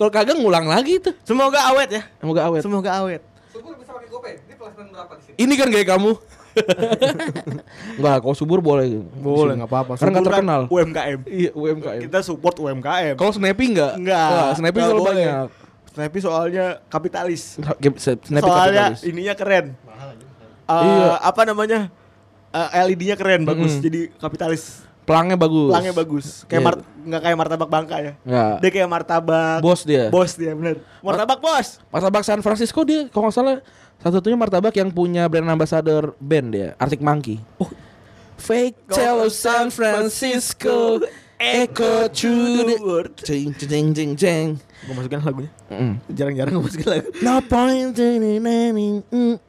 Kalau kagak ngulang lagi tuh. Semoga awet ya. Semoga awet. Semoga awet. Subur bisa pakai GoPay. Ini pelatihan berapa di sini? Ini kan gaya kamu. Enggak, kalau subur boleh. Boleh. Enggak apa-apa. Karena enggak Suburan terkenal. UMKM. Iya, UMKM. Kita support UMKM. Kalau snappy enggak? Enggak. Wah, snappy Enggak selalu boleh. banyak. Snappy soalnya kapitalis. Nah, game- se- Snappy soalnya kapitalis. ininya keren. Eh, Iya. apa namanya? Eh, LED-nya keren, bagus. Jadi kapitalis. pelangnya bagus. Pelangnya bagus. Kayak Iya. mar- nggak kayak martabak bangka ya. Enggak. Dia kayak martabak. Bos ya? dia. Bos dia bener. Martabak bos. Martabak San Francisco dia kalau nggak salah satu-satunya martabak yang punya brand ambassador band dia, Arctic Monkey. Oh. Fake Cello San Francisco Echo to the world. Jing jing jing jing. Gue masukin lagunya. Mm. Jarang-jarang gue masukin lagu. No point in it, any- mm,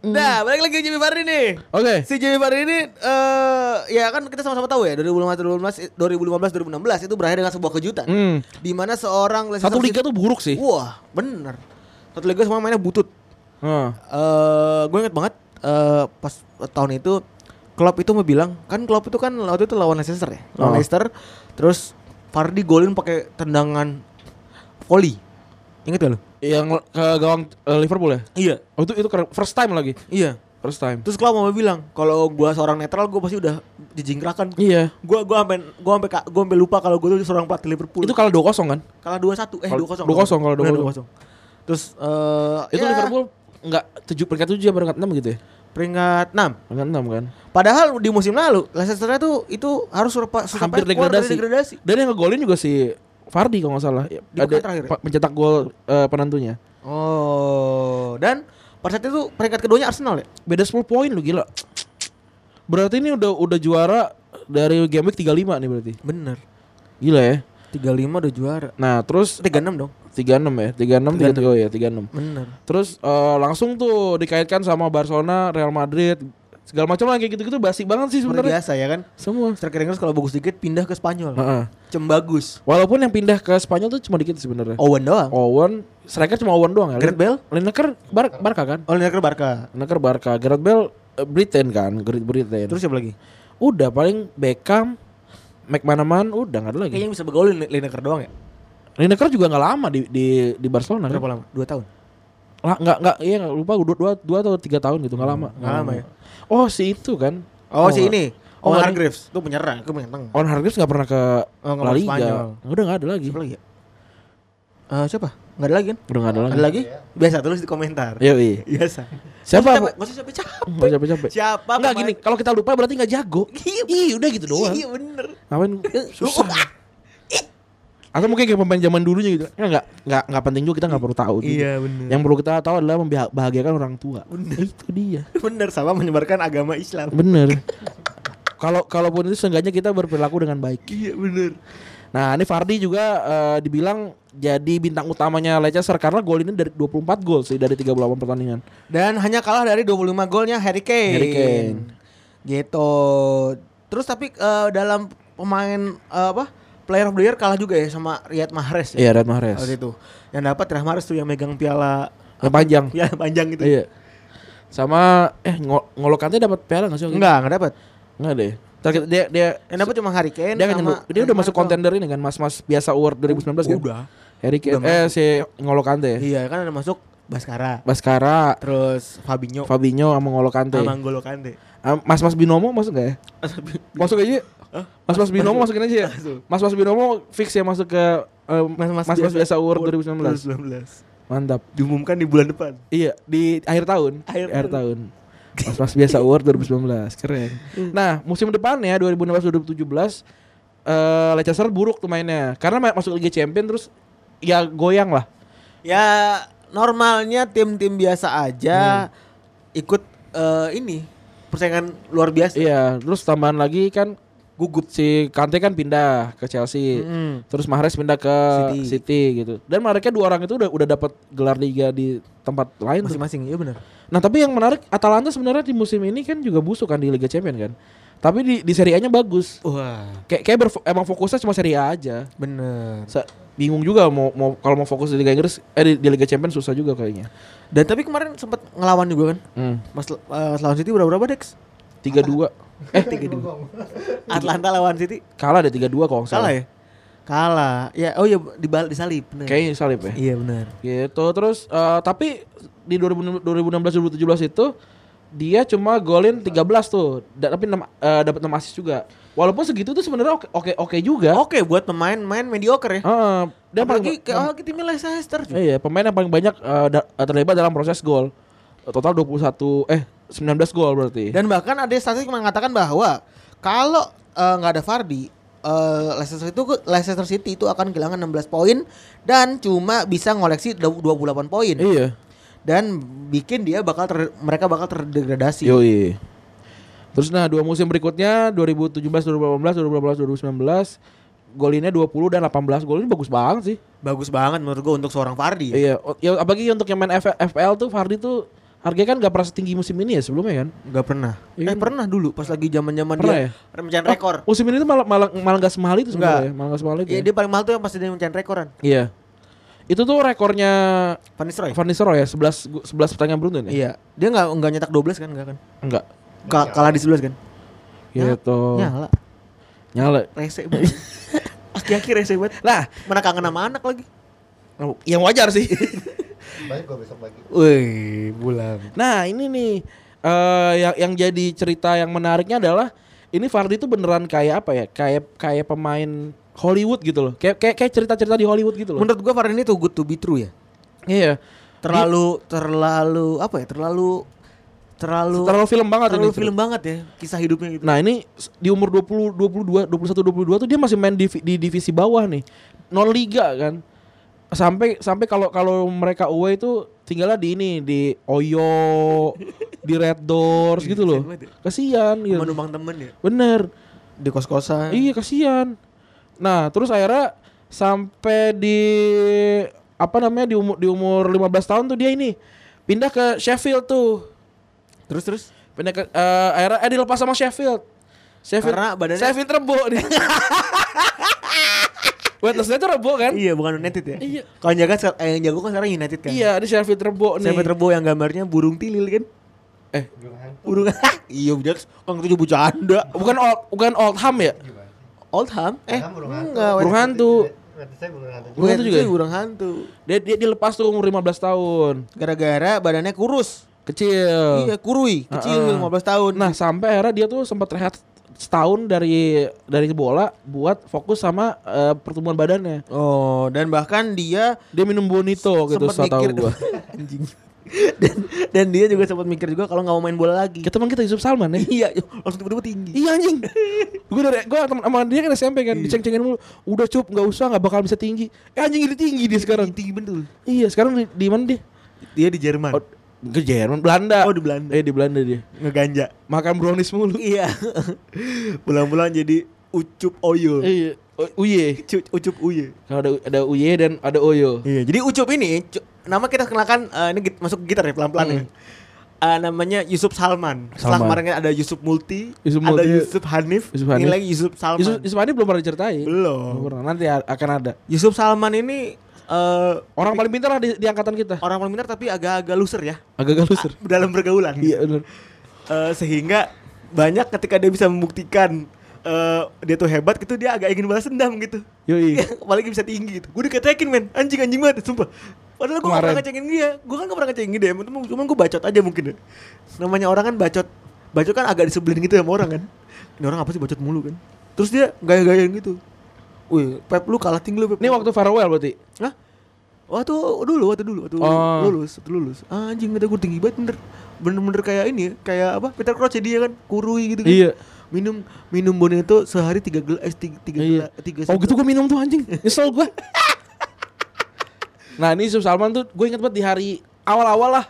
mm. Nah, balik lagi ke Jimmy Vardy nih. Oke. Si Jimmy Vardy ini eh ya kan kita sama-sama tahu ya 2015 2015 2016 itu berakhir dengan sebuah kejutan. Hmm. Di mana seorang Leicester Satu liga City- tuh buruk sih. Wah, bener. Satu liga semua mainnya butut. Heeh. eh gue inget banget eh pas tahun itu Klopp itu mau bilang kan Klopp itu kan waktu itu lawan Leicester ya lawan Oh. Leicester terus Vardy golin pakai tendangan volley inget gak lu Yang ke gawang eh, Liverpool ya? iya Oh itu itu keren. First time lagi. iya First time. terus Klopp mau bilang kalau gue seorang netral gue pasti udah dijingkrakan Iya. gue gue sampai gue sampai gue sampai lupa kalau gue tuh seorang pelatih Liverpool Itu kalah 2-0 kan? kalah dua satu eh Kal- dua kosong 2-0, kalau 2-0. terus eh Itu ya, Liverpool enggak 7 peringkat 7 ya peringkat 6 gitu ya? peringkat enam Peringkat 6 kan. Padahal di musim lalu Leicester tuh itu harus surpa, surpa- Hampir keluar dari degradasi. Dan yang ngegolin juga si Fardi kalau nggak salah. Ya, Ada pekan terakhir ya? pa- mencetak gol eh, penentunya. Oh, dan pada saat itu peringkat keduanya Arsenal ya. Beda 10 poin lu gila. Berarti ini udah udah juara dari game week 35 nih berarti. Bener. Gila ya. 35 udah juara. Nah, terus 36 dong. 36 ya, 36 33 oh ya, 36. Bener. Terus eh, langsung tuh dikaitkan sama Barcelona, Real Madrid, segala macam lah kayak gitu-gitu basi banget sih Seperti sebenarnya. biasa ya kan. Semua. Striker Inggris kalau bagus dikit pindah ke Spanyol. Heeh. Cem bagus. Walaupun yang pindah ke Spanyol tuh cuma dikit sebenarnya. Owen doang. Owen, striker cuma Owen doang ya. Gareth Bale? Lineker Bar Barca kan? Oh, Lineker Barca. Lineker Barca, Gareth Bale eh, Britain kan, Great Britain. Terus Terus siapa lagi? udah paling Beckham, McManaman udah nggak ada lagi. Kayaknya yang bisa bergaul Lin- Lineker doang ya. Lineker juga nggak lama di di di Barcelona. Berapa Kan? lama? 2 tahun. Lah nggak nggak iya nggak lupa dua, dua, dua atau tiga tahun gitu nggak lama. nggak lama ya. Oh si itu kan? Oh, iya. si nggak- ini. Oh, Owen ini. Hargreaves. Tuh penyerang, tuh penyerang. Owen Hargreaves nggak pernah ke Oh, nggak La pernah Liga. Spanyol. Udah nggak ada lagi. Siapa lagi ya? Eh, siapa? Enggak ada lagi kan? Udah nggak ada lagi. Ada lagi? Biasa tulis di komentar. Iya, iya. Biasa. Siapa? Siapa? Nggak Gak usah capek-capek. capek-capek. Siapa? Nggak pemain- gini. Kalau kita lupa berarti nggak jago. Ih, udah gitu doang. Iya bener. Ngapain? Susah. Atau mungkin kayak pemain zaman dulunya gitu. Ya nggak nggak nggak penting juga kita nggak perlu tahu. gitu. Iya, bener. Yang perlu kita tahu adalah membahagiakan orang tua. Itu dia. Bener sama menyebarkan agama Islam. Bener. Kalau kalaupun itu seenggaknya kita berperilaku dengan baik. Iya bener. Nah, ini Fardi juga eh, dibilang jadi bintang utamanya Leicester karena gol ini dari 24 gol sih dari 38 pertandingan. Dan hanya kalah dari 25 golnya Harry Kane. Harry Kane. Gitu. Terus tapi eh, dalam pemain eh, apa? Player of the Year kalah juga ya sama Riyad Mahrez ya. Iya, Red Mahrez. Waktu itu. Yang dapat Riyad Mahrez tuh yang megang piala Yang panjang. piala panjang gitu. Iya. Sama eh ngo- ngolokante dapat piala enggak sih? waktu itu? Enggak, enggak dapat. Enggak deh. Ntar kita- dia dia Yang dapat cuma Harry Kane dia, kan dia sama udah Neymar masuk doang. kontender ini kan Mas-mas biasa award 2019 kan? Udah. Harry Kane eh si ngolokante. Iya, kan ada masuk Baskara, Baskara, terus Fabinho, Fabinho sama ngolokante. Sama N'Golo Kante. Ah, Mas-mas Binomo masuk gak ya? Masuk aja. Mas-mas Binomo masukin aja ya. Mas-mas Binomo fix ya masuk ke eh, Mas-mas mas-mas biasa, award 2019. 2019. Mantap. Diumumkan di bulan depan. Iya, di akhir tahun. Akhir Di akhir tahun. Mas-mas biasa award 2019. Keren. Nah, musim depannya 2016-2017 eh Leicester buruk tuh mainnya. Karena ma- masuk Liga Champions terus ya goyang lah. Ya normalnya tim-tim biasa Hmm. aja ikut eh, ini persaingan luar biasa. Iya, terus tambahan lagi kan gugup Hmm. si Kante kan pindah ke Chelsea. Hmm. Terus Mahrez pindah ke City. City, gitu. Dan mereka dua orang itu udah udah dapat gelar liga di tempat lain tuh. Masing-masing, iya benar. Nah, tapi yang menarik Atalanta sebenarnya di musim ini kan juga busuk kan di Liga Champions kan. Tapi di di Serie A-nya bagus. Wah, Kayak kayak berfo- emang fokusnya cuma Serie A aja. bener. Sa- bingung juga mau mau kalau mau fokus di Liga Inggris eh di, di Liga Champions susah juga kayaknya. Dan tapi kemarin sempat ngelawan juga kan. Hmm. Mas eh, lawan City berapa-berapa, Dex? 3-2. Eh 3-2. Atlanta lawan City Kalah deh 3-2 kalau nggak kalah salah. ya? Kalah. Ya, oh ya dibal disalip. bener. Kayaknya salib ya. Iya benar. Gitu terus eh, tapi di 2000 2016 2017 itu dia cuma golin 13 tuh. Da- tapi enam- eh, dapat 6 assist juga. Walaupun segitu tuh sebenarnya oke oke oke juga. Oke buat pemain-pemain mediocre ya. Heeh. Eh? Oh, dia paling Apalagi kayak oh, timnya Leicester. Iya, pemain yang paling banyak eh, da- terlibat dalam proses gol. Total 21 eh 19 gol berarti. Dan bahkan ada statistik mengatakan bahwa kalau eh, nggak ada Fardi, eh, Leicester itu Leicester City itu akan kehilangan 16 poin dan cuma bisa ngoleksi 28 poin iya. dan bikin dia bakal ter- mereka bakal terdegradasi. Yoi. Terus nah dua musim berikutnya 2017 2018 2018 2019 golinnya 20 dan 18 gol ini bagus banget sih. Bagus banget menurut gue untuk seorang Fardi. Iya, o- ya apalagi untuk yang main F- FPL tuh Fardi tuh harganya kan gak pernah setinggi musim ini ya sebelumnya kan. Nggak pernah. Iya. Eh pernah dulu pas lagi zaman-zaman Pernah dia ya? mencetak Oh, rekor. Musim ini tuh malah malah, malah gak semahal itu sebenarnya, malah gak semahal itu. Iya ya. dia paling mahal tuh yang pasti dia mencetak rekoran. Iya. Itu tuh rekornya Van Nistelrooy. Van Nistelrooy ya 11 gu- 11 pertandingan beruntun ya? Iya. Dia nggak nggak nyetak 12 kan nggak kan? Enggak. Ka- kalah di 11 kan? Gitu. Nyala. Nyala. Rese banget. Aki-aki rese banget. Lah, mana kangen sama anak lagi? Yang wajar sih. Baik gua besok pagi. Wih, bulan. Nah ini nih eh yang yang jadi cerita yang menariknya adalah ini Fardi tuh beneran kayak apa ya? Kayak kayak pemain Hollywood gitu loh. Kayak kayak, kayak cerita-cerita di Hollywood gitu loh. Menurut gua Farhan ini tuh good to be true ya. iya. Terlalu terlalu apa ya? Terlalu terlalu Terlalu film banget terlalu ini. gitu film banget ya kisah hidupnya gitu. Nah, ini s- di umur 20 22 21 22 tuh dia masih main divi- di divisi bawah nih. Non liga kan. Sampai sampai kalau kalau mereka away itu tinggalnya di ini di Oyo, di Red Doors gitu loh. Kasihan gitu. Sama numpang temen ya Bener. di kos-kosan. Iya kasihan. Nah, terus akhirnya sampai di apa namanya di umur di umur 15 tahun tuh dia ini pindah ke Sheffield tuh. Terus terus Pindah ke eh, akhirnya eh dilepas sama Sheffield. Sheffield Karena badannya- Sheffield rebo nih. Wetlesnya tuh rebo kan? Iya, bukan United ya. Iya. Kalau yang jaga se- eh, yang jago kan sekarang United kan. Iya, di Sheffield rebo nih. Saya Rebo yang gambarnya burung tilil kan? Eh. burung Iya, Jax. Kan itu bercanda. Bukan old, bukan Oldham ya? Oldham? Eh, Karena burung hantu. enggak. Burung hantu. Oh, Berarti saya burung hantu. Burung hantu juga ya? Burung hantu. Dia, dia dilepas tuh umur 15 tahun. Gara-gara badannya kurus. Kecil. Iya, kurui, kecil Heeh. 15 tahun. Nah, sampai akhirnya dia tuh sempat rehat setahun dari dari bola buat fokus sama eh, pertumbuhan badannya. oh, dan bahkan dia Dia minum Oh, bonito gitu sempat setahu mikir gua. Anjing. dan, dan dia juga sempat mikir juga kalau nggak mau main bola lagi. Kita teman kita Yusuf Salman ya. iya, yuk, langsung tiba-tiba tinggi. Iya anjing. gue dari gue teman sama dia kan SMP kan Iya. diceng-cengin mulu. Udah cup nggak usah nggak bakal bisa tinggi. Eh anjing ini tinggi dia sekarang. tinggi betul. Iya iya. sekarang di, di mana dia? Dia di Jerman. Oh, ke Jerman Belanda. Oh, di Belanda. Eh di Belanda dia. Ngeganja. Makan brownies mulu. Iya. Bulan-bulan jadi ucup oyo. Iya. U- Uye. Cu- Ucup uye. Kalau ada ada Uye dan ada Oyo. Iya, jadi Ucup ini cu- nama kita kenalkan eh, ini git- masuk gitar ya pelan-pelan ya. eh, namanya Yusuf Salman. Setelah Salman. kemarin kan ada Yusuf Multi, Yusuf ada iya. Multi. Yusuf Hanif, Yusuf ini Hanif. lagi Yusuf Salman. Yusuf, Yusuf, Yusuf Hanif belum pernah diceritain. Belum. pernah. Nanti a- akan ada. Salman ini eh, Orang paling pintar lah di, di angkatan kita. orang paling pintar tapi agak-agak loser ya Agak-agak loser. dalam pergaulan. Iya benar. Eh, sehingga banyak ketika dia bisa membuktikan eh, dia tuh hebat gitu dia agak ingin balas dendam gitu. Yoi. Iya, apalagi bisa tinggi gitu. Gue diketekin men, anjing-anjing banget, sumpah. Padahal gue gak pernah Kemarin. ngecengin dia, gue kan gak pernah ngecengin dia, cuman, cuman gue bacot aja mungkin ya. Namanya orang kan bacot, bacot kan agak disebelin gitu sama orang kan. Ini orang apa sih bacot mulu kan. Terus dia gaya-gayaan gitu. Wih, Pep lu kalah tinggi lu Pep. Ini waktu farewell berarti. Hah? Waktu dulu, waktu dulu, waktu Oh. lulus, waktu lulus. Ah, anjing kata gue tinggi banget bener. Bener-bener kayak ini ya, kayak apa? Peter Crouch ya dia kan, kurui gitu kan. Iya. Minum minum bonito sehari tiga gelas, eh, tiga, tiga, Iya. gela- tiga Oh gitu gue minum tuh anjing. Nyesel gue. nah ini Yusuf Salman tuh gue inget banget di hari awal-awal lah.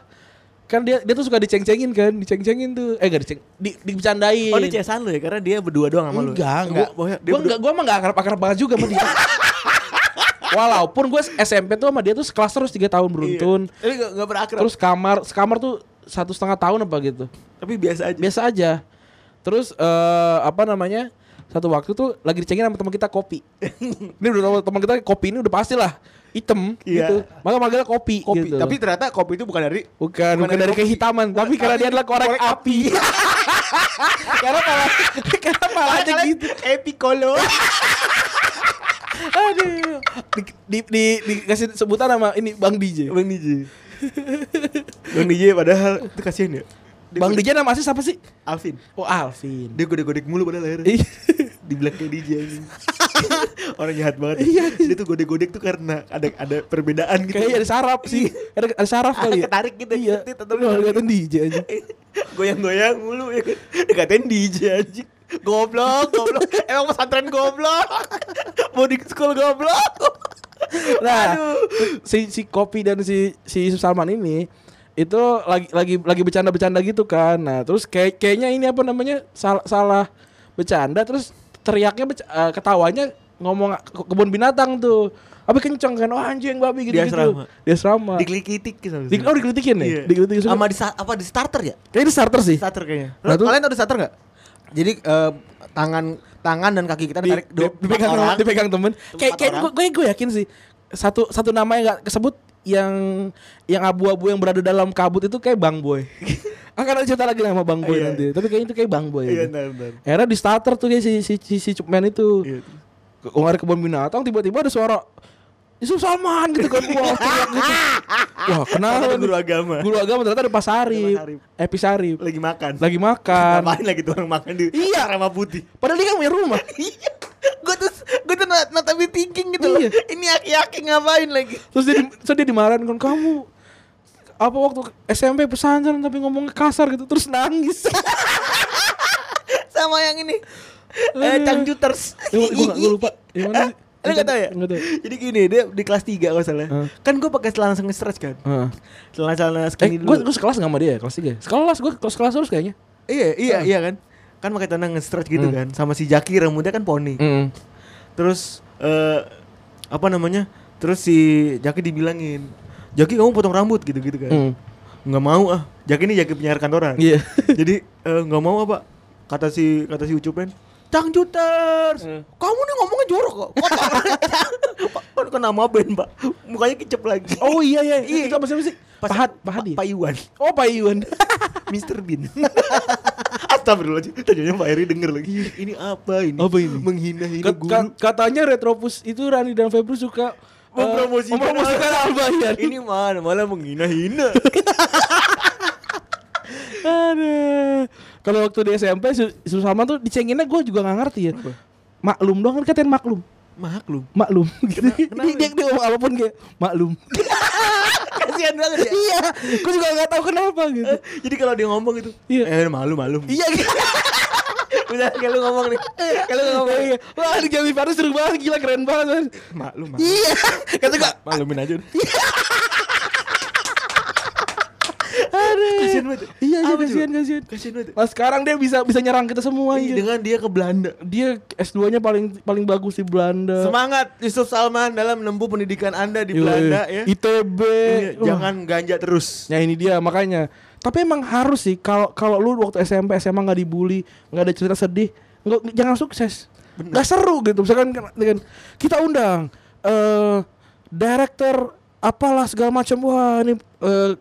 Kan dia dia tuh suka diceng-cengin kan, diceng-cengin tuh. Eh gak diceng, di, dibicarain. Oh dia cesan lu ya karena dia berdua doang sama lu. ya? Enggak, enggak. Gua, dia Gue enggak, gue emang enggak akrab-akrab banget juga sama dia. Walaupun gue SMP tuh sama dia tuh sekelas terus 3 Iya. tahun beruntun. Tapi enggak, enggak pernah akrab. Terus kamar, sekamar tuh satu setengah tahun apa gitu. tapi biasa aja. Biasa aja. Terus eh apa namanya? Satu waktu tuh lagi dicengin sama teman kita kopi. ini udah teman kita kopi ini udah pastilah hitam Iya. gitu. Maka manggilnya kopi, Kopi. gitu. Tapi ternyata kopi itu bukan dari bukan, bukan, dari dari kopi. kehitaman, tapi karena dia adalah korek, korek api. karena malah karena malah aja gitu. Epicolo. Aduh. Di, di, di, dikasih sebutan sama ini Bang DJ. Bang DJ. Bang DJ padahal itu kasihan ya. Dia Bang gode- DJ nama asli siapa sih? Alvin. Oh Alvin. Dia gode-godek mulu padahal akhirnya. Iya. Di belakang DJ aja. Orang jahat banget. Iya. Dia tuh gode-godek tuh karena ada ada perbedaan gitu. Kayaknya ada saraf sih. Ada, ada saraf kali ya. Ketarik gitu, Iya. tetep- tetep- Lu ngeliatin DJ aja. goyang-goyang mulu ya kan dikatain DJ anjing goblok goblok emang pesantren goblok boarding school goblok Nah, si si Kopi dan si si Yusuf Salman ini itu lagi lagi lagi bercanda-bercanda gitu kan. Nah, terus kayak kayaknya ini apa namanya? Salah salah bercanda terus teriaknya berc- eh, ketawanya ngomong ke kebun binatang tuh. Tapi kenceng kan, oh anjing babi gitu-gitu. asrama. Di asrama. dikelikitik gitu Di, oh dikritikin ya? Iya. Dikritikin Sama sama di sa- apa di starter ya? Kayaknya di starter sih. starter kayaknya Nah, tuh- Kalian tau di starter nggak? Jadi eh, tangan tangan dan kaki kita Kan di, ditarik di, dua dipegang empat temen, orang. dipegang temen. Kayak kayak orang. gue, gue gue yakin sih satu satu nama yang gak kesebut yang yang abu-abu yang berada dalam kabut itu kayak Bang Boy. Akan ada cerita lagi lah sama Bang Boy Iya. nanti. Tapi kayaknya itu kayak Bang Boy. iya aja. ntar ntar Akhirnya di starter tuh dia si si si, si Cupman itu. Iya. Ke Kemarin kebun binatang tiba-tiba ada suara Yusuf Salman gitu kan Wah, teriak gitu. Wah kenal Ternyata ada nih. guru agama. Guru agama ternyata ada Pak Sarif Ada Pak Sarif. Eh Pi Sarif lagi makan Lagi makan ngapain lagi tuh orang makan di Iya. asrama putih Padahal dia kan punya rumah Iya. gue tuh gue tuh not, not even thinking gitu loh. Iya. Ini aki-aki ngapain lagi? terus dia di- terus dia dimarahin kan kamu apa waktu SMP pesantren tapi ngomongnya kasar gitu terus nangis Sama yang ini. Eh, Aduh. cangcuters. Eh, gue gak gue lupa yang mana sih? Lu gak tau ya? Nggak tahu. Jadi gini, dia di kelas 3 kalau nggak salah Heeh. Kan gue pakai celana sangat stretch kan Heeh. Celana-celana eh skinny gue dulu gue sekelas gak sama dia ya kelas tiga sekelas gue kelas kelas terus kayaknya Iya, iya, iya kan Kan pakai celana nge-stretch gitu kan Sama si Jaki rambutnya kan poni mm. Terus eh apa namanya? Terus si Jaki dibilangin, "Jaki kamu potong rambut gitu-gitu kan." Hmm. Nggak mau ah. Jaki ini Jaki penyiar kantoran. Iya. Jadi eh, nggak mau apa? Kata si kata si Ucupen, "Cangcuters. Hmm. Kamu nih ngomongnya jorok kok. Kotor." Pak, Kan kena maben, Pak. Mukanya kecep lagi. oh iya iya Iya. itu apa siapa sih Pas- pahat Pa- pahat dia Pak Iwan. oh Pak Iwan Mr. Bean Astagfirullahaladzim Tadinya Pak Eri denger lagi Ini apa ini? Iya. Apa ini? Menghina-hina Kat- guru kat- katanya Retropus itu Rani dan Febru suka eh, Mempromosikan mempromosikan Albayan Ini mana malah menghina-hina. Aduh. Kalau waktu di SMP Su- Susama tuh dicenginnya gue juga nggak ngerti ya. Maklum doang kan katain maklum. Maklum. Maklum gitu. dia, dia, dia ngomong apapun kayak maklum. Kasihan banget ya. iya, gue juga nggak tahu kenapa gitu. Jadi kalau dia ngomong gitu, Iya. eh malu malu. iya gitu. Udah kayak lu ngomong nih. Kalau ngomong Iya. Wah, di Jambi Paris seru banget, gila keren banget. Man. maklum malu. Iya. Kata gue, Malumin aja. udah. aduh. Kasihan banget. Iya, iya Apa coba? kasihan, kasihan. Kasihan banget. Nah, sekarang dia bisa bisa nyerang kita semua Ih, iya. Dengan dia ke Belanda. Dia S2-nya paling paling bagus di Belanda. Semangat Yusuf Salman dalam menempuh pendidikan Anda di Iya, Belanda iya. ya. ITB. Iya, Wah. Jangan ganja terus. Nah ini Ya, dia makanya Tapi emang harus sih kalau kalau lu waktu SMP SMA nggak dibully, nggak ada cerita sedih, nggak jangan sukses. Nggak seru gitu. Misalkan kan- dengan kita undang eh director apalah segala macam wah ini eh,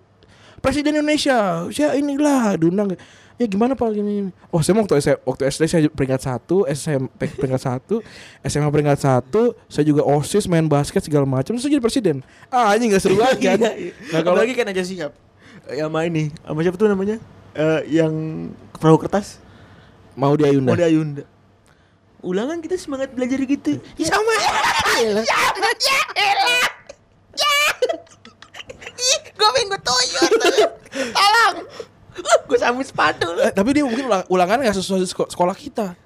presiden Indonesia saya inilah diundang ya gimana pak gini, gini. oh saya waktu S- waktu SD saya peringkat satu SMP peringkat satu SMA peringkat satu saya juga osis main basket segala macam terus saya jadi presiden ah ini nggak seru banget Iya, kan nah kalau Eh, lagi kan aja siap. Ya sama ini, sama siapa tuh namanya? Eh, yang perahu kertas, mau dia Nah. Yunda Mode Ayunda. Ulangan kita semangat belajar gitu. ya sama Ya, Gue pengen gue toyot. Tolong. Gue sambil sepatu lu. Eh, tapi dia mungkin ulang- ulangan nggak sesuai sko- sekolah kita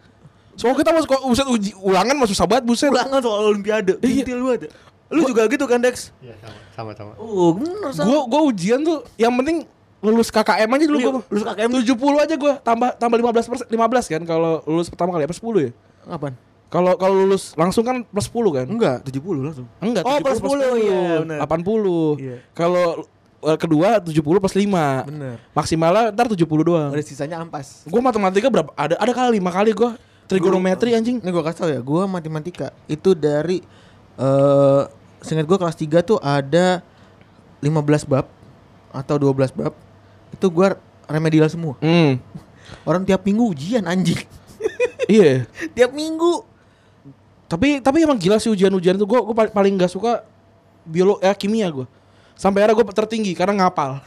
soal kita masuk buset uji ulangan masuk sahabat buset Ulangan soal Olimpiade, Iya. detail lu ada. Lu juga gitu kan Dex? Iya sama sama sama. Oh, bener Sal. gue gue ujian tuh yang penting lulus KKM aja dulu Lu- gue lulus KKM. 70 aja gue tambah tambah 15 15 kan kalau lulus pertama kali apa 10 ya Kapan? kalau kalau lulus langsung kan plus 10 kan Enggak, 70 langsung. enggak Oh, plus 10, iya, benar. 80 Iya. kalau eh, kedua 70 plus 5 Benar. maksimalnya ntar 70 doang Ada sisanya ampas. gue matematika berapa ada ada kali lima kali gue trigonometri anjing Ini gue kasih tau ya, gue matematika itu dari eh seingat gue kelas 3 tuh ada 15 bab atau 12 bab. Itu gue remedial semua. hmm Orang tiap minggu ujian anjing. iya tiap minggu. tapi tapi emang gila sih ujian-ujian itu gue paling nggak suka biolo eh, kimia gue sampai akhirnya gue tertinggi karena ngapal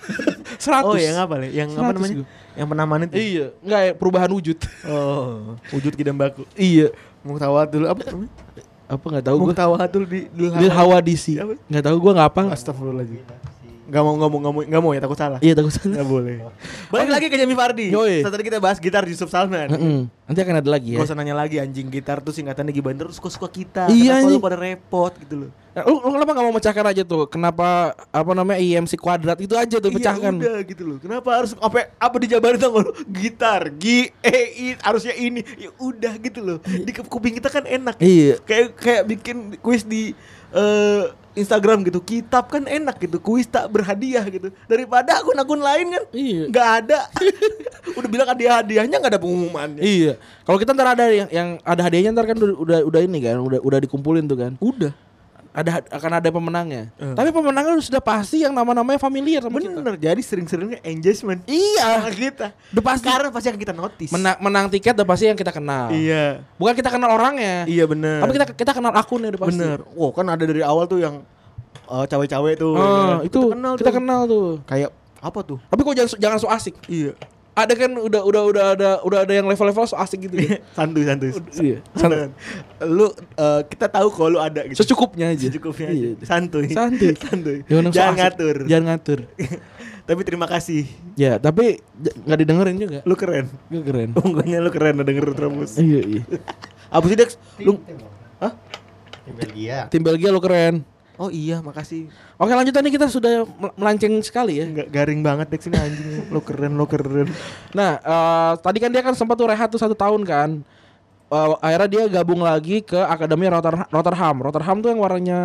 100 Oh, yang apa nih? Yang 100 apa namanya? gua. Yang penamaan itu. iya nggak ya, perubahan wujud Oh, wujud kidam baku. iya Muktawatul apa? namanya? apa nggak tahu gue Muktawatul di Lil Hawadisi Oh, Apa? nggak tahu gue ngapal Astagfirullahaladzim. Gak mau ngomong ngomong nggak mau ya takut salah. iya takut salah Gak boleh. Balik lagi ke Jamie Fardi. Yoi. Saat tadi kita bahas gitar Yusuf Salman. Mm-mm. nanti akan ada lagi ya Gak usah nanya lagi anjing gitar tuh singkatannya gimana terus suka-suka kita. Iya, Kenapa lu anjing. pada repot gitu loh. Eh, lu, lu kenapa nggak mau mecahkan aja tuh kenapa apa namanya IMC kuadrat itu aja tuh pecahkan Iya, udah gitu loh. Kenapa harus apa apa dijabarin tau gak lu? Gitar, G E I harusnya ini. Ya udah gitu loh. Di ke- kuping kita kan enak. Iya. Kayak kayak bikin kuis di eh, Instagram gitu. Kitab kan enak gitu. Kuis tak berhadiah gitu. Daripada akun-akun lain kan Iya. nggak ada. udah bilang hadiah hadiahnya nggak ada pengumumannya. Iya. Kalau kita ntar ada yang yang ada hadiahnya ntar kan udah udah, udah ini kan, udah udah dikumpulin tuh kan. Udah. Ada akan ada pemenangnya. Eh. Tapi pemenangnya sudah pasti yang nama-namanya familiar sama kita. Bener, jadi sering-seringnya engagement. Iya. Sama kita. Udah pasti. Karena pasti akan kita notice. Menang, menang tiket udah pasti yang kita kenal. Iya. Bukan kita kenal orangnya. Iya bener. Tapi kita kita kenal akunnya udah pasti. Bener. Wow, kan ada dari awal tuh yang eh, cawe-cawe tuh. Ah, ya kan? itu kita kenal, tuh. tuh. Kayak apa tuh? Tapi kok jangan so- jangan so asik. Iya. Ada kan udah udah udah ada udah ada yang level-level so asik gitu. ya. santuy santuy. iya. Santuy. Lu eh, kita tahu kalau lu ada gitu. Secukupnya aja. Secukupnya Iya. aja. Santuy. Santuy. Ya, santuy. Jangan so Jangan asik. ngatur. Jangan ngatur. Tapi terima kasih. Ya, tapi j- nggak didengerin juga. Lu keren. Gak keren. Unggulnya lu keren udah denger terus. Oh, Iya, iya. Apa sih Dex? Lu Tim, tim. Hah? Tim Belgia. Tim Belgia lo keren. Oh iya, makasih. Oke lanjut tadi kita sudah mel- melanceng sekali ya. nggak garing banget Dex ini anjing. Lu keren, lu keren. Nah eh, tadi kan dia kan sempat tuh rehat tuh satu tahun kan. Eh, akhirnya dia gabung lagi ke akademi Rotter- Rotterdam. Rotterdam tuh yang warnanya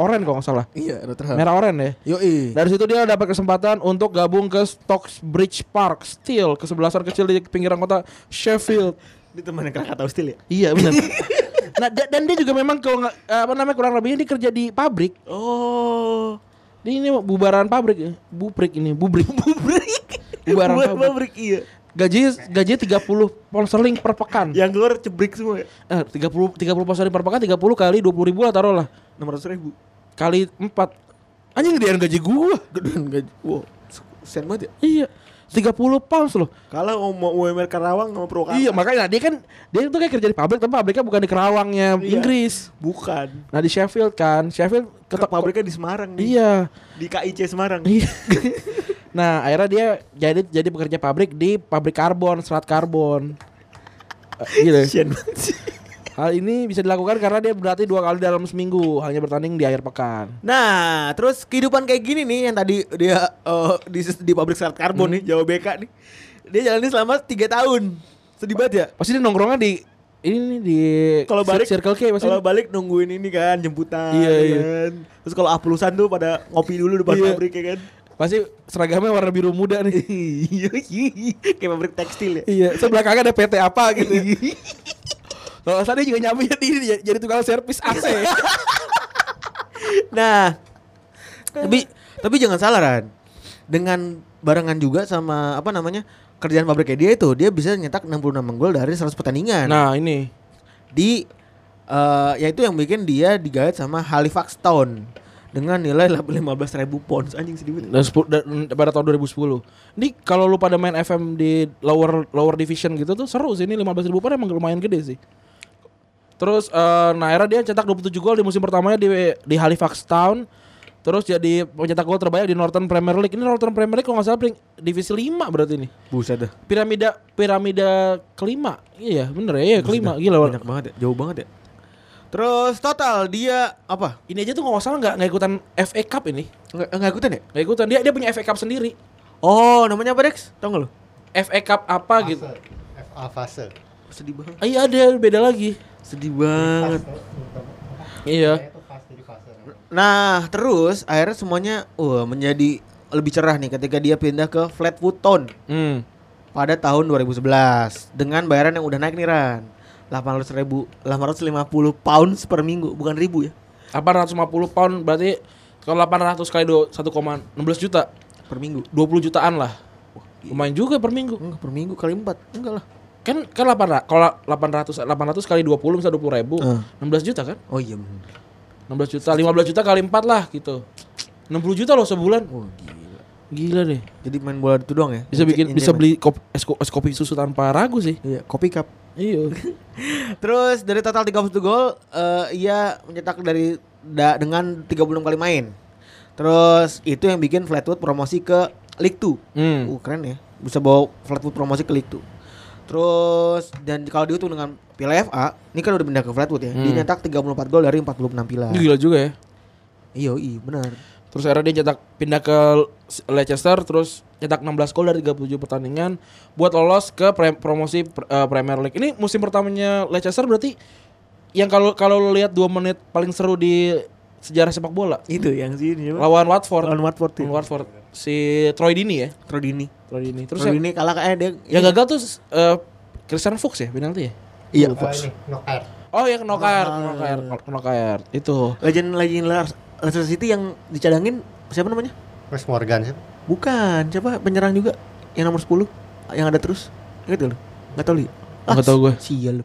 oranye kalau nggak salah. Iya, Rotterdam. Merah oranye ya. Yoi. Dari situ dia dapat kesempatan untuk gabung ke Stocksbridge Park Steel, kesebelasan kecil di pinggiran kota Sheffield. Ini temannya Krakatau Steel ya? Iya benar. nah da- dan dia juga memang kalau nggak eh, apa namanya kurang lebihnya dia kerja di pabrik. Oh. Dia ini bubaran pabrik ya. Bubrik ini, bubrik. Pabrik. Bubaran Buat pabrik. pabrik iya. Gaji gaji 30 pound sterling per pekan. Yang keluar cebrik semua ya? Eh, 30 30 pound sterling per pekan 30 kali 20 ribu lah taruh lah. 600 ribu Kali 4. Anjing gedean gaji gua. Hmm. Gedean gaji. Wow, sen banget ya. Iya. 30 pounds loh. Kalau mau UMR Karawang sama Purwakarta Iya, makanya nah, dia kan dia itu kayak kerja di pabrik, tapi pabriknya bukan di Kerawangnya Iya. Inggris. Bukan Nah, di Sheffield kan. Sheffield Tetap ketok pabriknya di Semarang nih Iya. Di KIC Semarang Iya. nah, akhirnya dia jadi jadi pekerja pabrik di pabrik karbon, serat karbon. Eh, Gitu. Kasian banget sih. Hal ini bisa dilakukan karena dia berarti dua kali dalam seminggu, hanya bertanding di akhir pekan. Nah terus kehidupan kayak gini nih Yang tadi dia eh, di, di pabrik serat karbon nih Jawa BK nih Dia jalani selama 3 tahun Sedih banget ya Pasti dia nongkrongnya di ini nih, di kalau balik Circle K pasti. kalau balik nungguin ini kan jemputan Iya, ya iya. kan. terus kalau aplusan tuh pada ngopi dulu depan Iya. pabrik ya kan Pasti seragamnya warna biru muda nih. Iya, kayak pabrik tekstil ya. iya, terus belakangnya ada PT apa gitu. Kalau nggak salah dia juga nyampe jadi jadi tukang servis AC. Nah, tapi tapi jangan salah Ran. Dengan barengan juga sama apa namanya kerjaan pabriknya dia itu dia bisa nyetak 66 gol dari 100 pertandingan. nah, ini. Di eh, ya itu yang bikin dia digait sama Halifax Town dengan nilai 15.000 pounds anjing sedih banget. Dan, sepu- dan- mm, pada tahun 2010. Ini kalau lu pada main FM di lower lower division gitu tuh seru sih ini 15 ribu pound emang lumayan gede sih. Terus eh Naira dia cetak 27 gol di musim pertamanya di di Halifax Town. Terus jadi pencetak gol terbanyak di Northern Premier League. Ini Northern Premier League kalau nggak salah pering- divisi 5 berarti ini. Buset dah. Piramida piramida kelima. Iya, bener ya, iya, kelima. Gila. Banyak banget ya, jauh banget ya. Terus total dia apa? Ini aja tuh kalau nggak salah nggak nggak ikutan FA Cup ini. Nggak nggak ikutan ya? Nggak ikutan. Dia dia punya FA Cup sendiri. Oh, namanya apa Dex? Tahu nggak lu? FA Cup apa gitu. Fase. FA fase. Sedih banget. Ah, Iya ada beda lagi. Sedih banget. Iya. Saya tuh fase jadi fase. Nah, terus akhirnya semuanya wah menjadi lebih cerah nih ketika dia pindah ke Flatwood Town Hmm. pada tahun 2011 dengan bayaran yang udah naik nih Ran. 800 ribu, 850 pounds per minggu, bukan ribu ya, 850 pound berarti kalau 800 kali dua- 1,16 juta, per minggu. 20 jutaan lah. Lumayan juga per minggu. Enggak, per minggu kali 4. Enggak lah. Kan kan 800 kalau 800 800 kali 20 misalnya 20 ribu, Hmm. 16 juta kan? Oh iya bener. 16 juta, 15 juta kali 4 lah gitu. 60 juta loh sebulan. Oh gila. Gila deh. Jadi main bola itu doang ya? Bisa bikin Entertainment. bisa beli kopi, es, ko- es kopi susu tanpa ragu sih. Iya, kopi cup. Iya. Terus dari total 31 gol, eh, ia mencetak dari da- dengan 36 kali main. Terus itu yang bikin Flatwood promosi ke League 2. Hmm. Uh, keren ya. Bisa bawa Flatwood promosi ke League 2. Terus dan kalau dihitung dengan Piala FA, ini kan udah pindah ke Flatwood ya. Dia Hmm. nyetak 34 gol dari 46 Piala. Ini gila juga ya. Iya, iya benar. Terus akhirnya dia cetak pindah ke Leicester terus cetak 16 gol dari 37 pertandingan buat lolos ke pre- promosi pr- eh, Premier League. Ini musim pertamanya Leicester berarti yang kalau kalau lu lihat 2 menit paling seru di sejarah sepak bola Itu yang sini siapa? lawan Watford. Lawan Watford. ya. Lawan Watford. Si Troy Dini ya. Trodini. Ya Troy Dini. Terus yang, Trodini kalah kayak dia. yang gagal tuh eh, Christian Fuchs ya penalti ya? Iya. Oh, ini knocker. Oh ya knock out, knock out, knock out. Itu. Legend legend Leicester City yang dicadangin siapa namanya? Wes Morgan sih. Bukan, siapa penyerang juga yang nomor 10 yang ada terus. Ingat gak lu? Enggak tahu lu. ya? Oh, nggak tahu gue. Sial lu.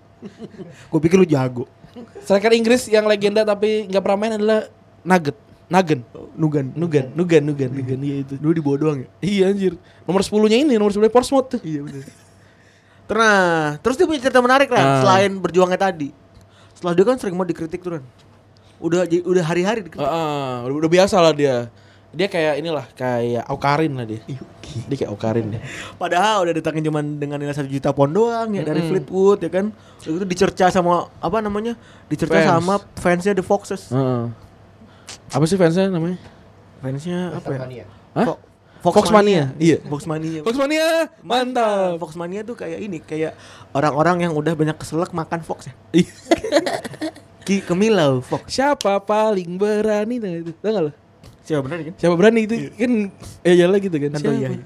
gue pikir lu jago. Striker Inggris yang legenda tapi nggak pernah main adalah Nugget. Nagen. Nugan. Nugan, Nugan, Nugan, Nugan, iya itu. Dulu dibawa doang ya? Iya anjir. Nomor 10-nya ini, nomor 10 Portsmouth tuh. Iya benar. Nah, terus dia punya cerita menarik kan Ah. selain berjuangnya tadi. Setelah dia kan sering banget dikritik tuh kan. Udah j- udah hari-hari Heeh, dikritik. udah, udah biasa lah dia. Dia kayak inilah, kayak Aukarin lah dia. Dia kayak Aukarin deh. Padahal udah datangin cuman dengan nilai 1 juta pound doang ya dari Fleetwood ya kan. Udah gitu dicerca sama apa namanya? Dicerca Fans. Ah. sama fansnya The Foxes. Heeh. Apa sih fansnya namanya? Fansnya apa ya? Tasmania. Hah? Fo- Foxmania. Iya. Foxmania. Nah, Foxmania, mantap. Foxmania tuh kayak ini, kayak orang-orang yang udah banyak keselak makan fox ya. Ih, Ki Kemilau Fox. Siapa paling berani nah itu? Tahu nggak lo? Siapa benar kan? Siapa ya? berani itu? Kan eh jalan gitu kan. Tanto Siapa? Yahya.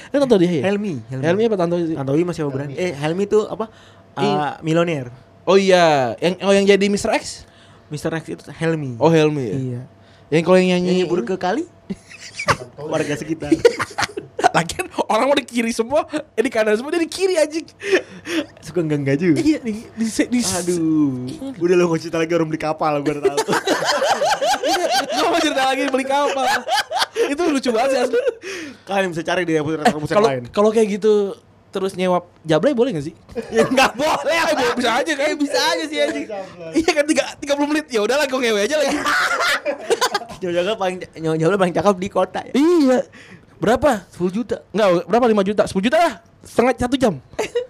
Eh, Tanto dia ya? Helmi, Helmi apa Tanto sih? Tantowi masih apa berani? Eh, Helmi tuh apa? Eh, milioner. Oh iya, yang oh yang jadi Mr. X? Mr. X itu Helmi. Oh Helmi ya. iya. Yang kalau yang Yang nyanyi nyebur ke kali? Warga sekitar. Lagian orang mau di kiri semua, eh di kanan semua dia di kiri anjing. Suka enggak juga. Iya di di, di Aduh. Udah lo cerita lagi orang beli kapal gue udah tahu. Gua mau cerita lagi beli kapal. Itu lucu banget sih asli. Kalian bisa cari di episode-episode Kalau lain. kalau kayak gitu terus nyewa jablay boleh gak sih? Ya enggak boleh. Eh bo- bisa aja kayak bisa aja sih anjing. Iya kan tiga 30 menit. Ya udahlah gua ngewe aja lagi. Nyonya paling nyonya paling cakep di kota ya. iya. Berapa? 10 juta. Enggak, berapa 5 juta? 10 juta lah. Setengah satu jam.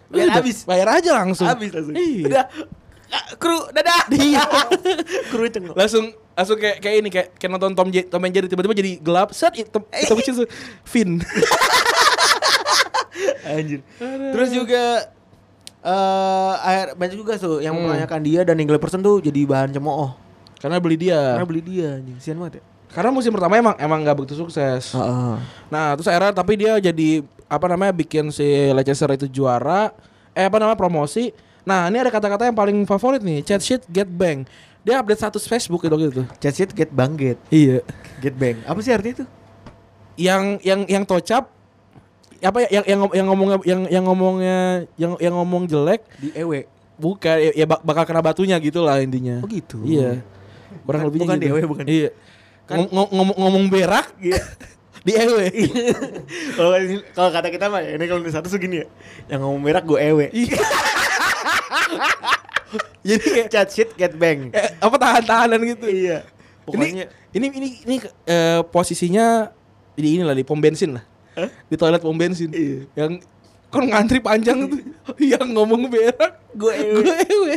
Biar Udah, Iya, habis. Bayar aja langsung. Habis langsung. Iya. Udah. Ah, Kru dadah. Iya. Kru cengok. langsung langsung kayak kayak ini kayak, kayak nonton Tom J- Tom and Jerry tiba-tiba jadi gelap set hitam hitam kecil se- fin Anjir. Terus juga eh akhir- banyak juga tuh yang mempertanyakan dia dan Engle Person tuh jadi bahan cemooh. karena beli dia Karena beli dia anjing, sian banget ya. Karena musim pertama emang emang nggak begitu sukses. Heeh. Nah, terus akhirnya tapi dia jadi apa namanya bikin si Leicester itu juara, eh apa namanya promosi. Nah, ini ada kata-kata yang paling favorit nih, chat shit get bang. Dia update status Facebook gitu gitu. Chat sheet get bangget, Iya. get bang. Apa sih artinya itu? Yang yang yang tocap apa ya, yang yang yang ngomongnya yang yang ngomongnya yang yang ngomong jelek Di E EW. bukan ya, ya bak- bakal kena batunya gitu lah intinya. Oh gitu. Iya. Kurang Bukan- lebihnya bukan gitu. di EW, bukan. Kan Iya. Ngom- ngom- ngomong ngomong berak di E EW. Iya. Kalau kalau kata kita mah ini kalau di satu segini ya. Yang ngomong merah gue E EW. Jadi kayak Chat sheet get bang. eh, apa tahan-tahanan gitu. Iya. Ini Pokoknya ini ini ini eh, posisinya di inilah di pom bensin lah. Di toilet pom bensin. Iya. Yang kan ngantri panjang tuh. yang ngomong berak E gue E EW. gue ewe.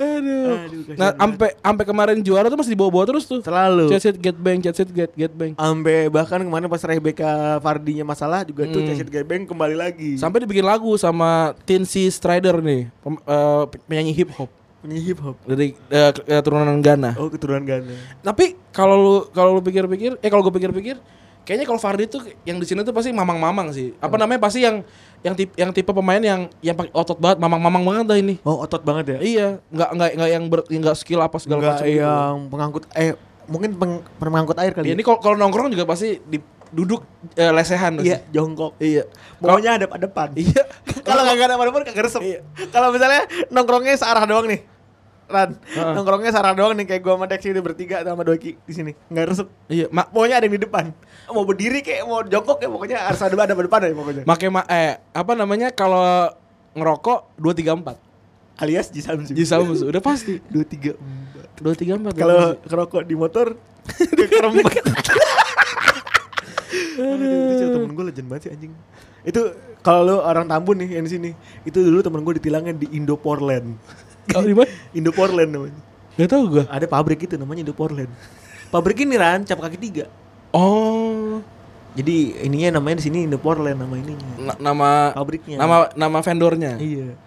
Aduh. Aduh, kasihan Nah, ampe ampe kemarin juara tuh masih dibawa-bawa terus tuh. Selalu. Chat sheet, get bang, chat sheet, get get bang. Ambe bahkan kemarin pas Rebecca Fardinya masalah juga tuh Hmm. Cacit Gebeng kembali lagi. Sampai dibikin lagu sama Tinsy Strider nih, pem- eh, penyanyi hip hop Penyanyi hip hop. dari eh, ke- keturunan Ghana. Oh keturunan Ghana. Tapi kalau lu kalau lu pikir-pikir, eh kalau gue pikir-pikir, kayaknya kalau Fardi tuh yang di sini tuh pasti mamang-mamang sih. Apa namanya pasti yang yang tipe yang tipe pemain yang yang pakai otot banget, mamang-mamang banget dah ini. Oh otot banget ya. Iya, nggak nggak nggak yang ber, nggak skill apa segala Enggak macam. gitu. yang pengangkut eh Mungkin peng- pengangkut air kali. ya? Iya, ini kalau kalau nongkrong juga pasti di, duduk eh, lesehan pasti. iya jongkok. Iya. Kalau Pokoknya ada pada depan. iya. Kalau kagak ada depan kagak resep. Kalau misalnya nongkrongnya searah doang nih. Ran, Heeh. nongkrongnya searah doang nih kayak gua sama Dexy udah bertiga sama Doki di sini. Enggak resep. Iya, ma Pokoknya ada yang di depan. Mau berdiri kayak mau jongkok kayak pokoknya harus ada ada pada depan ya pokoknya. make ma eh apa namanya kalau ngerokok 234. Alias Jisamsu. Jisamus Iya, udah pasti. Dua tiga empat. 234. Kalau kerokok di motor dia kerempet. Aduh, itu cerita temen gue legend banget sih anjing. Itu kalau lu orang Tambun nih yang di sini, itu dulu temen gue ditilangnya di Indo Portland. Iya. oh, di mana? Indo Portland namanya. Gak tau gua. Ada pabrik itu namanya Indo Portland. Pabrik ini ran cap kaki tiga. Oh. Jadi ininya namanya di sini Indo Portland nama ininya. Na- nama Pabriknya. nama nama vendornya Iya.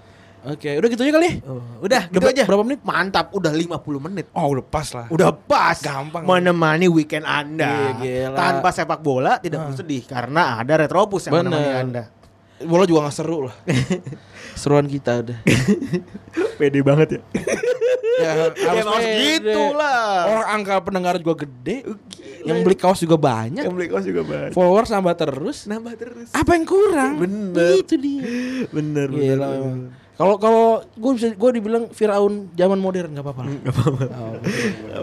oke udah gitu aja kali ya? Oh, udah gitu Berapa- aja. berapa menit Mantap, udah 50 menit. oh udah pas lah Udah pas Gampang. menemani weekend Anda. Iya, gila. Tanpa sepak bola tidak perlu sedih karena ada Retropus yang Bener. menemani Anda. bola juga nggak seru lah seruan kita udah Pede banget ya. ya Ya, emang harus pede. gitu lah. orang angka pendengar juga gede yang beli kaos juga banyak Yang beli kaos juga banyak. followers nambah terus Nambah terus. apa yang kurang Bener. itu dia Bener, bener. Gila, memang. Iya, kalau kalau gue bisa gue dibilang Firaun zaman modern nggak apa-apa lah. Oh,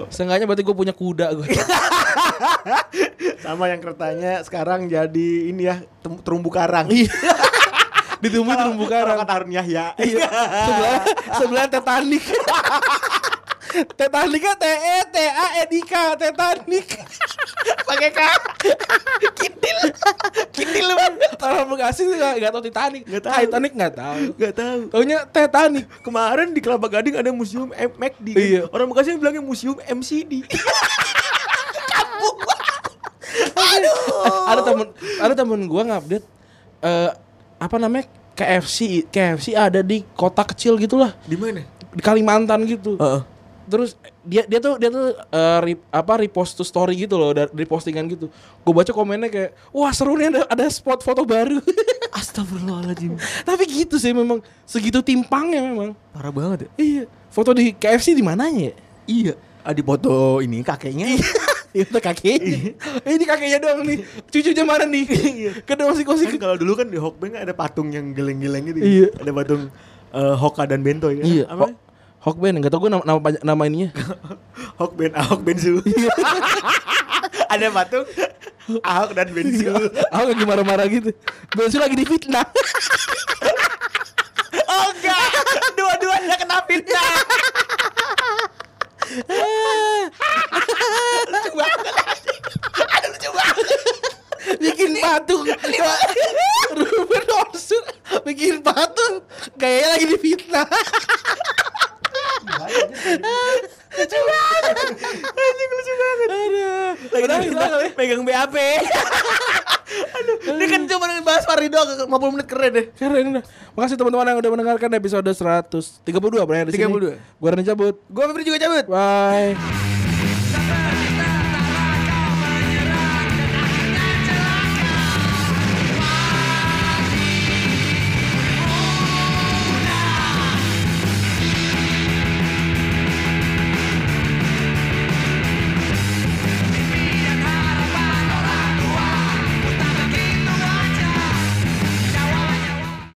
Seenggaknya berarti gue punya kuda gue. Sama yang keretanya sekarang jadi ini ya tem- terumbu karang. Iya. Ditumbuh terumbu karang. Kalau kata Harun Yahya. Iya. sebelah sebelah Titanic. Titanic T E T A N I K Titanic. Pakai K. Kintil. Kintil banget. Orang Bekasi sih nggak nggak tahu Titanic. Nggak tahu. Titanic nggak tahu. Gak tahu. Taunya Titanic. Kemarin di Kelapa Gading ada museum M- MACD. kan? Iya. Orang Bekasi bilangnya museum MCD. ada temen ada temen gua ngupdate eh apa namanya KFC KFC ada di kota kecil gitulah Di mana? di Kalimantan gitu. Heeh. Terus dia dia tuh dia tuh eh, re- apa repost to story gitu loh dari dari postingan gitu. Gue baca komennya kayak wah seru nih ada ada spot foto baru. Astagfirullahaladzim. Tapi gitu sih memang segitu timpangnya memang. Parah banget ya. Iya. Foto di KFC di mananya ya? Iya. Ah, di foto ini kakeknya. Iya, Itu kakeknya. Ini kakeknya doang nih. Cucunya mana nih? Kedua masih kan kosik. kalau dulu kan di Hokben ada patung yang geleng-geleng gitu. Iya. Ada patung eh, Hoka dan Bento ya. Iya. Apa? Hokben enggak tau gue nama, nama panj- nama ininya. Hokben, Ahok Bensu. ah, ada patung Ahok dan Bensu. Aku lagi marah-marah gitu. Bensu lagi di fitnah. oh enggak, dua-duanya kena fitnah. bikin patung. Ruben Orsu bikin patung kayaknya lagi di fitnah. Lagi Udah, di udah kali. pegang BAP. Aduh, ini kan cuma bahas Farido 50 menit keren deh. Keren dah. Makasih teman-teman yang udah mendengarkan episode 132 berarti di sini. 32. Gua Rani cabut. Gua Febri juga cabut. Bye.